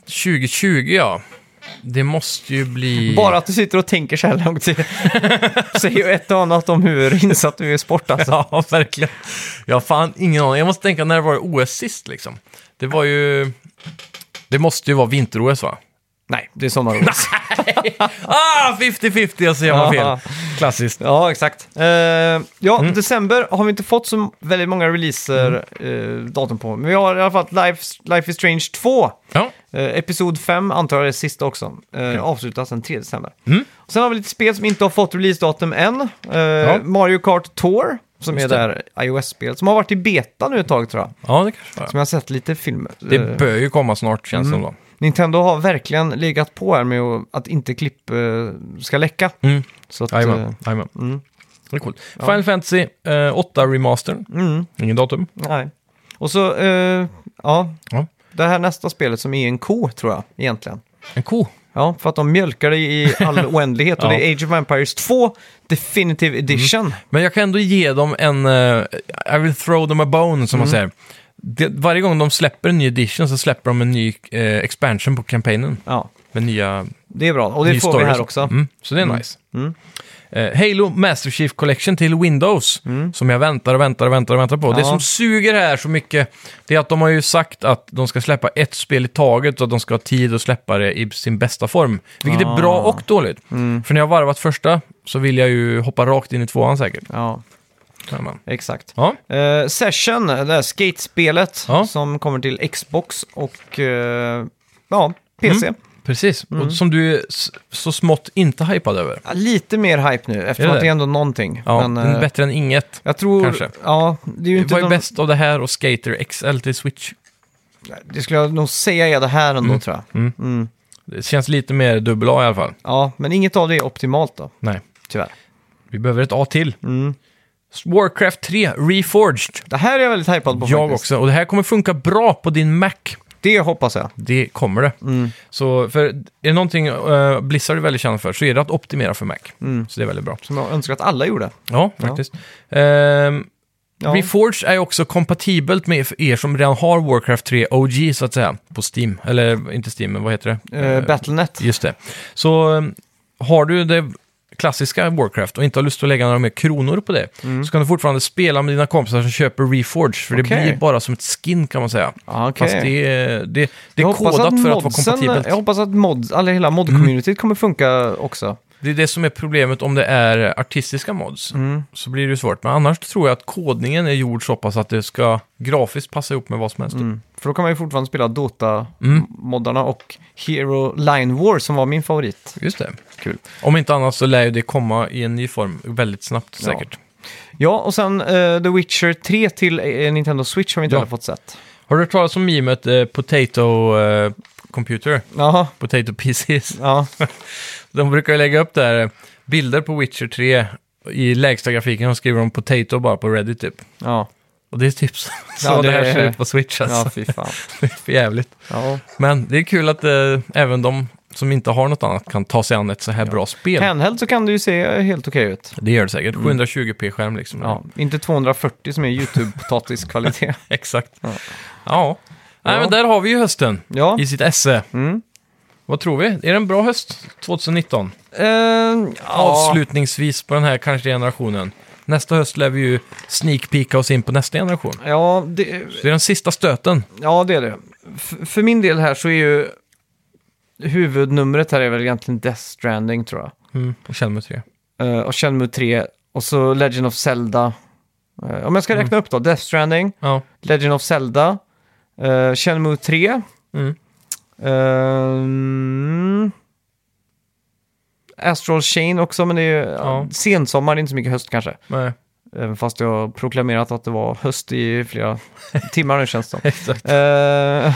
[SPEAKER 2] 2020 ja. Det måste ju bli...
[SPEAKER 1] Bara att du sitter och tänker så här långt säger ju ett och annat om hur insatt du är i sport alltså.
[SPEAKER 2] Ja, verkligen. Jag har fan ingen aning. Jag måste tänka när det var OS sist liksom. Det var ju... Det måste ju vara vinter-OS va?
[SPEAKER 1] Nej, det är sommar-OS.
[SPEAKER 2] Ah, 50-50! Jag ser jag har
[SPEAKER 1] Ja.
[SPEAKER 2] fel. Klassiskt.
[SPEAKER 1] Ja, exakt. Eh, ja,
[SPEAKER 2] Mm.
[SPEAKER 1] december har vi inte fått så väldigt många releaser
[SPEAKER 2] Mm.
[SPEAKER 1] eh, datum på. Men vi har i alla fall Life, Life is Strange 2.
[SPEAKER 2] Ja.
[SPEAKER 1] Eh, episod 5 antar jag är det sista också. Eh, Avslutas den 3 december.
[SPEAKER 2] Mm.
[SPEAKER 1] Sen har vi lite spel som inte har fått releasedatum än. Eh, Mario Kart Tour, som
[SPEAKER 2] Just
[SPEAKER 1] är det här iOS-spelet, som har varit i beta nu ett tag tror jag.
[SPEAKER 2] ja, det kanske var. Mm.
[SPEAKER 1] Som jag har sett lite filmer.
[SPEAKER 2] Det
[SPEAKER 1] Eh,
[SPEAKER 2] bör ju komma snart känns det som då.
[SPEAKER 1] Nintendo har verkligen legat på här med att- att inte klipp eh, ska läcka.
[SPEAKER 2] Mm.
[SPEAKER 1] Så att, eh,
[SPEAKER 2] Jajamän, jajamän. Det är coolt. Final Fantasy eh, 8 Remaster. Ingen datum.
[SPEAKER 1] Nej. Och så, eh, ja.
[SPEAKER 2] Ja.
[SPEAKER 1] Det här nästa spelet som är en ko, tror jag, egentligen.
[SPEAKER 2] En ko.
[SPEAKER 1] Ja, för att de mjölkar det i all oändlighet. Och
[SPEAKER 2] Ja. Mm.
[SPEAKER 1] det är Age of Empires 2 Definitive Edition.
[SPEAKER 2] Men jag kan ändå ge dem en... eh, I will throw them a bone,
[SPEAKER 1] Mm.
[SPEAKER 2] som man säger. Det, varje gång de släpper en ny edition så släpper de en ny eh, expansion på kampanjen.
[SPEAKER 1] Ja,
[SPEAKER 2] Med nya
[SPEAKER 1] det är bra. Och det
[SPEAKER 2] Ny
[SPEAKER 1] får
[SPEAKER 2] story
[SPEAKER 1] vi här
[SPEAKER 2] så-
[SPEAKER 1] också.
[SPEAKER 2] Mm, så det är nice. Eh, Halo Master Chief Collection till Windows, som jag väntar och väntar och väntar och väntar på. Det
[SPEAKER 1] Mm. Ja.
[SPEAKER 2] som suger här så mycket, det är att de har ju sagt att de ska släppa ett spel i taget och att de ska ha tid att släppa det i sin bästa form. Vilket är
[SPEAKER 1] Ah.
[SPEAKER 2] bra och dåligt.
[SPEAKER 1] Mm.
[SPEAKER 2] För när jag varvat första så vill jag ju hoppa rakt in i tvåan säkert.
[SPEAKER 1] Ja,
[SPEAKER 2] Jajamän.
[SPEAKER 1] exakt.
[SPEAKER 2] Ja,
[SPEAKER 1] Eh, Session, det här skatespelet
[SPEAKER 2] Ja.
[SPEAKER 1] som kommer till Xbox och eh, ja, PC.
[SPEAKER 2] Mm. precis.
[SPEAKER 1] Mm.
[SPEAKER 2] Och som du är s- så smått inte hypad över.
[SPEAKER 1] Ja, Lite mer hype nu, eftersom
[SPEAKER 2] Är det
[SPEAKER 1] att det är ändå någonting.
[SPEAKER 2] Ja,
[SPEAKER 1] Men,
[SPEAKER 2] det är
[SPEAKER 1] eh,
[SPEAKER 2] bättre än inget.
[SPEAKER 1] jag tror...
[SPEAKER 2] kanske.
[SPEAKER 1] Ja, det är ju
[SPEAKER 2] Det
[SPEAKER 1] inte...
[SPEAKER 2] var ju
[SPEAKER 1] någon-
[SPEAKER 2] bäst av det här och Skater XL till Switch.
[SPEAKER 1] Det skulle jag nog säga är det här ändå,
[SPEAKER 2] Mm.
[SPEAKER 1] tror jag. Mm.
[SPEAKER 2] Det känns lite mer dubbel A i alla fall.
[SPEAKER 1] Ja, men inget av det är optimalt då,
[SPEAKER 2] Nej,
[SPEAKER 1] tyvärr. Mm.
[SPEAKER 2] vi behöver ett A till. Warcraft 3 Reforged.
[SPEAKER 1] Det här är jag väldigt hypad på
[SPEAKER 2] Jag
[SPEAKER 1] faktiskt.
[SPEAKER 2] också. Och det här kommer funka bra på din Mac.
[SPEAKER 1] Det hoppas jag.
[SPEAKER 2] Det kommer det.
[SPEAKER 1] Mm.
[SPEAKER 2] Så för, är det någonting eh, Blizzard är väldigt känd för så är det att optimera för Mac.
[SPEAKER 1] Mm.
[SPEAKER 2] Så det är väldigt bra.
[SPEAKER 1] Som jag önskar att alla gjorde.
[SPEAKER 2] Ja, faktiskt. Ehm,
[SPEAKER 1] Ja.
[SPEAKER 2] Reforged är ju också kompatibelt med för er som redan har Warcraft 3 OG så att säga på Steam. Eller inte Steam, men vad heter det?
[SPEAKER 1] Eh, Battlenet.
[SPEAKER 2] Just det. Så ehm, har du det klassiska Warcraft och inte har lust att lägga några mer kronor på det så kan du fortfarande spela med dina kompisar som köper Reforged för
[SPEAKER 1] Mm. Okej.
[SPEAKER 2] det blir bara som ett skin kan man säga.
[SPEAKER 1] Ja, okej.
[SPEAKER 2] Fast det, är- det, det
[SPEAKER 1] Jag
[SPEAKER 2] är
[SPEAKER 1] hoppas
[SPEAKER 2] kodat för att vara
[SPEAKER 1] modsen-
[SPEAKER 2] kompatibelt. Mm.
[SPEAKER 1] Jag hoppas att mods, alla, hela mod-communityt kommer funka också.
[SPEAKER 2] Det är det som är problemet om det är artistiska mods.
[SPEAKER 1] Mm.
[SPEAKER 2] Så blir det ju svårt. Men annars tror jag att kodningen är gjord så pass att det ska grafiskt passa ihop med vad som helst.
[SPEAKER 1] Mm. För då kan man ju fortfarande spela
[SPEAKER 2] Mm.
[SPEAKER 1] Dota-moddarna och Hero Line War som var min favorit.
[SPEAKER 2] Just det.
[SPEAKER 1] Kul.
[SPEAKER 2] Om inte annat så lär ju det komma i en ny form väldigt snabbt
[SPEAKER 1] Ja.
[SPEAKER 2] säkert.
[SPEAKER 1] Ja, och sen eh, The Witcher 3 till eh, Nintendo Switch har vi inte
[SPEAKER 2] Ja.
[SPEAKER 1] heller fått sett.
[SPEAKER 2] Har du hört talas om memet eh, Potato eh, Computer?
[SPEAKER 1] Jaha,
[SPEAKER 2] Potato Pieces.
[SPEAKER 1] ja.
[SPEAKER 2] De brukar ju lägga upp där eh, bilder på Witcher 3 i lägsta grafiken och skriver om Potato bara på Reddit typ.
[SPEAKER 1] Ja,
[SPEAKER 2] Och det är typ så, så
[SPEAKER 1] Ja,
[SPEAKER 2] det,
[SPEAKER 1] det
[SPEAKER 2] här
[SPEAKER 1] är-
[SPEAKER 2] ser ut på Switch
[SPEAKER 1] ja
[SPEAKER 2] alltså.
[SPEAKER 1] fy fan.
[SPEAKER 2] Det är för jävligt.
[SPEAKER 1] Ja.
[SPEAKER 2] Men det är kul att eh, även de som inte har något annat kan ta sig an ett så här bra spel.
[SPEAKER 1] Handheld så kan det ju se helt okej ut.
[SPEAKER 2] Det gör det säkert. 720p-skärm liksom.
[SPEAKER 1] Mm. Ja, inte 240 som är YouTube-potatiskvalitet.
[SPEAKER 2] Exakt.
[SPEAKER 1] Ja.
[SPEAKER 2] Ja. Nej,
[SPEAKER 1] Ja.
[SPEAKER 2] men där har vi ju hösten
[SPEAKER 1] ja.
[SPEAKER 2] i sitt esse.
[SPEAKER 1] Mm.
[SPEAKER 2] Vad tror vi? Är det en bra höst 2019?
[SPEAKER 1] Eh, ja.
[SPEAKER 2] Avslutningsvis på den här kanske generationen. Nästa höst lär vi ju sneakpeaka oss in på nästa generation.
[SPEAKER 1] Ja det,
[SPEAKER 2] Så det är den sista stöten.
[SPEAKER 1] ja, det är det. F för min del här så är ju huvudnumret här är väl egentligen Death Stranding tror jag.
[SPEAKER 2] Mm, och Chelmer 3.
[SPEAKER 1] Eh, och Shenmue 3 och så Legend of Zelda. Eh, om jag ska räkna upp då, Death Stranding,
[SPEAKER 2] Ja.
[SPEAKER 1] Legend of Zelda, uh, Shenmue eh, 3.
[SPEAKER 2] Mm.
[SPEAKER 1] ehm, Astral Chain också, men det är ju ja.
[SPEAKER 2] Ja.
[SPEAKER 1] sensommar, det är inte så mycket höst kanske.
[SPEAKER 2] Nej.
[SPEAKER 1] Även fast jag har proklamerat att det var höst i flera timmar nu känns det som.
[SPEAKER 2] Exakt.
[SPEAKER 1] Eh, ja,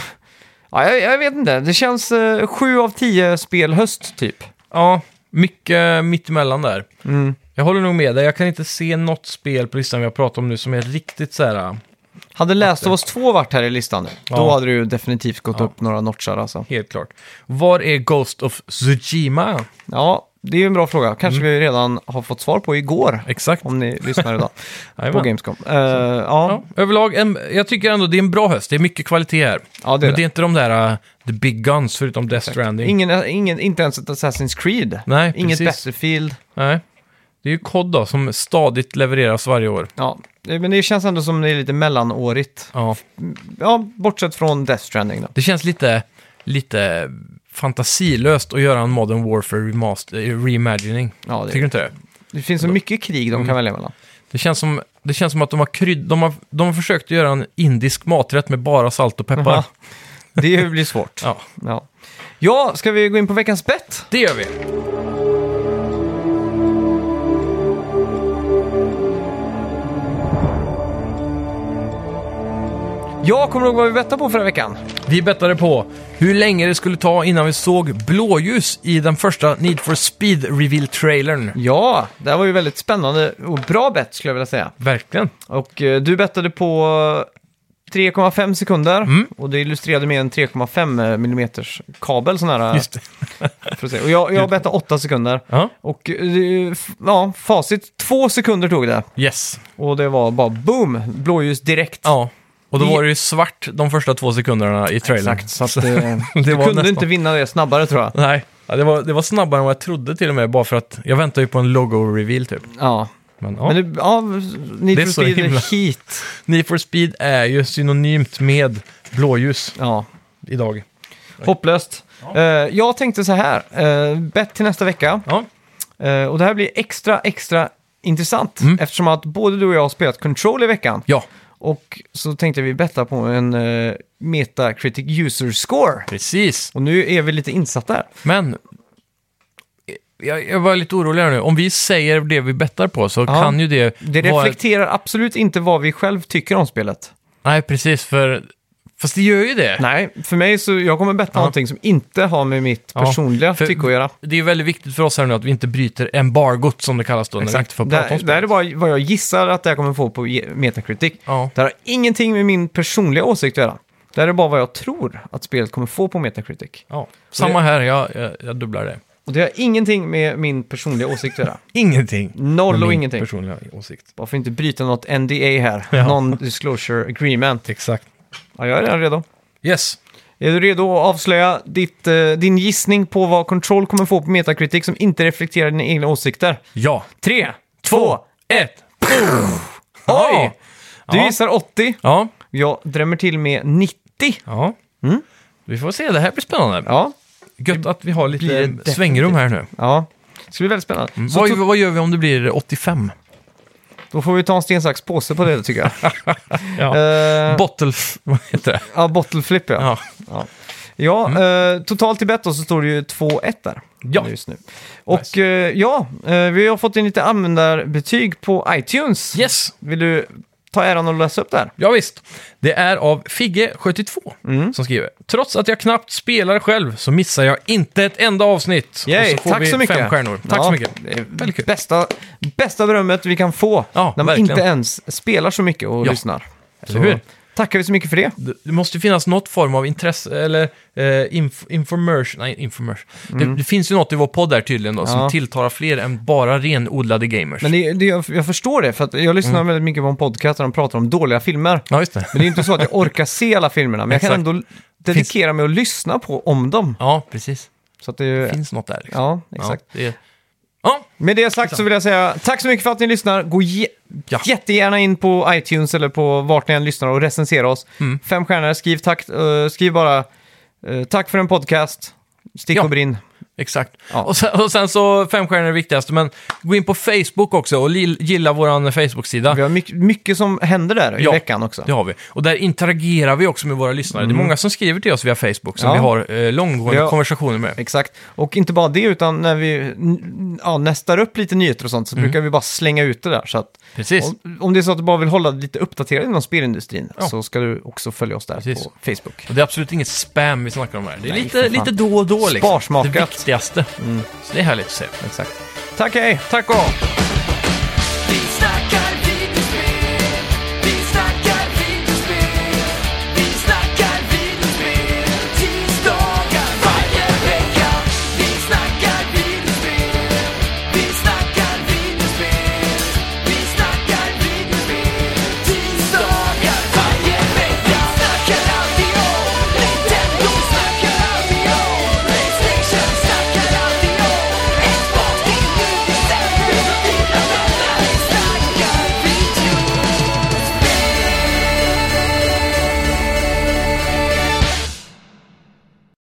[SPEAKER 1] jag, jag vet inte, det känns eh, sju av tio spel höst typ.
[SPEAKER 2] Ja, mycket mittemellan där.
[SPEAKER 1] Mm.
[SPEAKER 2] Jag håller nog med dig. Jag kan inte se något spel på listan vi har pratat om nu som är riktigt så här...
[SPEAKER 1] Hade Last of Us 2 varit här i listan nu, då
[SPEAKER 2] Ja.
[SPEAKER 1] hade det ju definitivt gått
[SPEAKER 2] Ja.
[SPEAKER 1] upp några notchar alltså.
[SPEAKER 2] Helt klart. Var är Ghost of Tsushima?
[SPEAKER 1] Ja, det är ju en bra fråga. Kanske
[SPEAKER 2] Mm.
[SPEAKER 1] vi redan har fått svar på igår,
[SPEAKER 2] Exakt.
[SPEAKER 1] om ni lyssnar idag på
[SPEAKER 2] Jajamän.
[SPEAKER 1] Gamescom. Eh, ja,
[SPEAKER 2] Ja, överlag, en, jag tycker ändå det är en bra höst. Det är mycket kvalitet här.
[SPEAKER 1] ja, det är
[SPEAKER 2] Men det är
[SPEAKER 1] det.
[SPEAKER 2] inte de där uh, the big guns förutom Death Stranding.
[SPEAKER 1] Ingen, ingen, inte ens ett Assassin's Creed.
[SPEAKER 2] Nej,
[SPEAKER 1] Inget
[SPEAKER 2] precis.
[SPEAKER 1] Battlefield.
[SPEAKER 2] Nej. Det är ju COD då, som stadigt levereras varje år.
[SPEAKER 1] Ja, det- men det känns ändå som det är lite mellanårigt.
[SPEAKER 2] Ja.
[SPEAKER 1] Ja, bortsett från Death Stranding då.
[SPEAKER 2] Det känns lite, lite fantasilöst att göra en Modern Warfare remaster, eh, reimagining.
[SPEAKER 1] Ja, det,
[SPEAKER 2] Tycker du Mm. inte det?
[SPEAKER 1] det finns så mycket krig de kan välja mellan.
[SPEAKER 2] Det känns som, det känns som att de har, krydd, de, har, de har försökt att göra en indisk maträtt med bara salt och peppar.
[SPEAKER 1] Jaha. Det blir svårt.
[SPEAKER 2] Ja,
[SPEAKER 1] Ja. ja, ska vi gå in på veckans bett?
[SPEAKER 2] det gör vi.
[SPEAKER 1] Jag kommer ihåg vad vi bettade på förra veckan.
[SPEAKER 2] Vi bettade på hur länge det skulle ta innan vi såg blåljus i den första Need for Speed Reveal-trailern.
[SPEAKER 1] Ja, det här var ju väldigt spännande och bra bett skulle jag vilja säga.
[SPEAKER 2] Verkligen.
[SPEAKER 1] Och eh, du bettade på eh, 3,5 sekunder
[SPEAKER 2] Mm.
[SPEAKER 1] och det illustrerade med en 3,5 mm kabel sån här. eh,
[SPEAKER 2] Just det.
[SPEAKER 1] För att se. Och jag, jag bettade 8 sekunder.
[SPEAKER 2] Ja.
[SPEAKER 1] Och eh, det är f- ja, facit, två sekunder tog det.
[SPEAKER 2] Yes.
[SPEAKER 1] Och det var bara boom, blåljus direkt.
[SPEAKER 2] Ja. Och då
[SPEAKER 1] Vi-
[SPEAKER 2] var det ju svart de första två sekunderna i trailern.
[SPEAKER 1] Exakt, så att, eh, du
[SPEAKER 2] var
[SPEAKER 1] kunde
[SPEAKER 2] nästan-
[SPEAKER 1] inte vinna det snabbare tror jag.
[SPEAKER 2] Nej, ja, det, var, det var snabbare än vad jag trodde till och med, bara för att jag väntade ju på en logo-reveal typ.
[SPEAKER 1] Ja.
[SPEAKER 2] Men, ja.
[SPEAKER 1] Men det, ja, Need
[SPEAKER 2] Det är
[SPEAKER 1] for
[SPEAKER 2] så
[SPEAKER 1] Speed
[SPEAKER 2] himla-
[SPEAKER 1] Heat.
[SPEAKER 2] Need for Speed är ju synonymt med blåljus
[SPEAKER 1] Ja,
[SPEAKER 2] idag.
[SPEAKER 1] hopplöst. Eh, jag tänkte så här, eh, bett till nästa vecka.
[SPEAKER 2] Ja,
[SPEAKER 1] Eh, och det här blir extra, extra intressant.
[SPEAKER 2] Mm.
[SPEAKER 1] Eftersom att både du och jag har spelat Control i veckan.
[SPEAKER 2] ja
[SPEAKER 1] Och så tänkte vi betta på en eh, Metacritic User Score.
[SPEAKER 2] precis.
[SPEAKER 1] Och nu är vi lite insatta här.
[SPEAKER 2] Men jag, jag var lite orolig här nu. Om vi säger det vi bettar på så kan ju det...
[SPEAKER 1] Det
[SPEAKER 2] vara-
[SPEAKER 1] reflekterar absolut inte vad vi själv tycker om spelet.
[SPEAKER 2] Nej, precis. För... Fast det gör ju det.
[SPEAKER 1] Nej, för mig så, jag kommer betta
[SPEAKER 2] Ja.
[SPEAKER 1] någonting som inte har med mitt
[SPEAKER 2] Ja,
[SPEAKER 1] personliga
[SPEAKER 2] för-
[SPEAKER 1] tycke att göra.
[SPEAKER 2] Det är väldigt viktigt för oss här nu att vi inte bryter embargot som det kallas då. När vi
[SPEAKER 1] Exakt.
[SPEAKER 2] inte får
[SPEAKER 1] Det,
[SPEAKER 2] prata om
[SPEAKER 1] här- det här är bara vad jag gissar att det här kommer få på ge- Metacritic.
[SPEAKER 2] Ja.
[SPEAKER 1] Det här har ingenting med min personliga åsikt att göra. Det här är bara vad jag tror att spelet kommer få på Metacritic.
[SPEAKER 2] Ja. Samma här, jag, jag, jag dubblar det.
[SPEAKER 1] Och det har ingenting med min personliga åsikt att göra.
[SPEAKER 2] Ingenting.
[SPEAKER 1] Noll
[SPEAKER 2] Med
[SPEAKER 1] och
[SPEAKER 2] min
[SPEAKER 1] ingenting.
[SPEAKER 2] personliga åsikt.
[SPEAKER 1] Bara för att inte bryta något NDA här. Non-disclosure agreement.
[SPEAKER 2] Exakt.
[SPEAKER 1] Ja, jag är redan redo.
[SPEAKER 2] Yes.
[SPEAKER 1] Är du redo att avslöja ditt, eh, din gissning på vad Control kommer få på Metacritic som inte reflekterar dina egna åsikter?
[SPEAKER 2] Ja.
[SPEAKER 1] Tre, två,
[SPEAKER 2] ett.
[SPEAKER 1] oj! Du
[SPEAKER 2] Ja.
[SPEAKER 1] gissar 80.
[SPEAKER 2] Ja.
[SPEAKER 1] Jag drämmer till med 90.
[SPEAKER 2] Ja.
[SPEAKER 1] Mm.
[SPEAKER 2] Vi får se, det här blir spännande.
[SPEAKER 1] Ja,
[SPEAKER 2] Gött att vi har
[SPEAKER 1] blir det
[SPEAKER 2] lite
[SPEAKER 1] definitivt.
[SPEAKER 2] svängrum här nu.
[SPEAKER 1] ja. Det ska bli väldigt spännande. Så
[SPEAKER 2] Mm. Vad,
[SPEAKER 1] to-
[SPEAKER 2] vad gör vi om det blir 85?
[SPEAKER 1] då får vi ta en sten, sax, påse på det tycker jag.
[SPEAKER 2] Ja.
[SPEAKER 1] Eh,
[SPEAKER 2] Bottle... Vad heter det?
[SPEAKER 1] ja, bottle flip ja.
[SPEAKER 2] Ja. Mm.
[SPEAKER 1] Ja, ja eh, totalt i bett då så står det ju 2-1 där
[SPEAKER 2] Ja.
[SPEAKER 1] just nu. Och eh, ja, eh, vi har fått in lite användarbetyg på iTunes.
[SPEAKER 2] Yes!
[SPEAKER 1] Vill du ta äran och läsa upp det här?
[SPEAKER 2] Ja, visst. Det är av Figge72
[SPEAKER 1] Mm.
[SPEAKER 2] som skriver. Trots att jag knappt spelar själv så missar jag inte ett enda avsnitt.
[SPEAKER 1] Yay,
[SPEAKER 2] och så får
[SPEAKER 1] tack
[SPEAKER 2] vi
[SPEAKER 1] så mycket.
[SPEAKER 2] fem stjärnor. Tack
[SPEAKER 1] Ja,
[SPEAKER 2] så mycket.
[SPEAKER 1] det är
[SPEAKER 2] Väldigt kul.
[SPEAKER 1] Bästa, bästa berömmet vi kan få
[SPEAKER 2] Ja,
[SPEAKER 1] när man
[SPEAKER 2] verkligen.
[SPEAKER 1] inte ens spelar så mycket och
[SPEAKER 2] Ja.
[SPEAKER 1] lyssnar.
[SPEAKER 2] Eller hur?
[SPEAKER 1] tackar vi så mycket för det.
[SPEAKER 2] Det det måste ju finnas något form av intresse, eller eh, inf information, nej, information. Det, det finns ju något i vår podd där tydligen då, som
[SPEAKER 1] Mm. Ja.
[SPEAKER 2] tilltalar fler än bara renodlade gamers.
[SPEAKER 1] Men det, det, jag, jag förstår det, för att jag
[SPEAKER 2] Mm.
[SPEAKER 1] lyssnar väldigt mycket på en podcast där de pratar om dåliga filmer.
[SPEAKER 2] Ja, just det.
[SPEAKER 1] Men det är inte så att jag orkar se alla filmerna, men jag kan
[SPEAKER 2] Exakt.
[SPEAKER 1] ändå dedikera mig och lyssna på om dem.
[SPEAKER 2] Ja, precis.
[SPEAKER 1] Så att det, är-
[SPEAKER 2] Det finns något där. Liksom.
[SPEAKER 1] Ja, exakt.
[SPEAKER 2] Ja, det är... ja,
[SPEAKER 1] Med det sagt så vill jag säga tack så mycket för att ni lyssnar. Gå ge-
[SPEAKER 2] Ja.
[SPEAKER 1] jättegärna in på iTunes eller på vart ni än lyssnar och recensera oss.
[SPEAKER 2] Mm.
[SPEAKER 1] Fem stjärnor, skriv, tack, eh, skriv bara eh, tack för en podcast, stick
[SPEAKER 2] Ja.
[SPEAKER 1] och brinn.
[SPEAKER 2] exakt.
[SPEAKER 1] Ja.
[SPEAKER 2] Och, sen, och sen så, fem stjärnor är det viktigaste, men gå in på Facebook också och li- gilla vår Facebook-sida.
[SPEAKER 1] Vi har mycket, mycket som händer där
[SPEAKER 2] Ja.
[SPEAKER 1] i veckan också.
[SPEAKER 2] Det har vi. Och där interagerar vi också med våra lyssnare. Det är många som skriver till oss via Facebook som
[SPEAKER 1] Mm. Ja.
[SPEAKER 2] vi har eh, långgående
[SPEAKER 1] Ja.
[SPEAKER 2] konversationer med.
[SPEAKER 1] Exakt. Och inte bara det, utan när vi n- ja, nästar upp lite nyheter och sånt så brukar vi bara slänga ut det där. Så att,
[SPEAKER 2] Mm. Precis.
[SPEAKER 1] om, om det är så att du bara vill hålla dig lite uppdaterad inom spelindustrin
[SPEAKER 2] Ja.
[SPEAKER 1] så ska du också följa oss där
[SPEAKER 2] Precis.
[SPEAKER 1] på Facebook.
[SPEAKER 2] Och det är absolut inget spam vi snackar om här. Det är
[SPEAKER 1] Nej,
[SPEAKER 2] lite,
[SPEAKER 1] för fan.
[SPEAKER 2] lite då och då liksom.
[SPEAKER 1] Sparsmakat. Mm.
[SPEAKER 2] Det viktigaste. Så det är härligt att se.
[SPEAKER 1] Exakt. Tack, hej!
[SPEAKER 2] Tack och hej.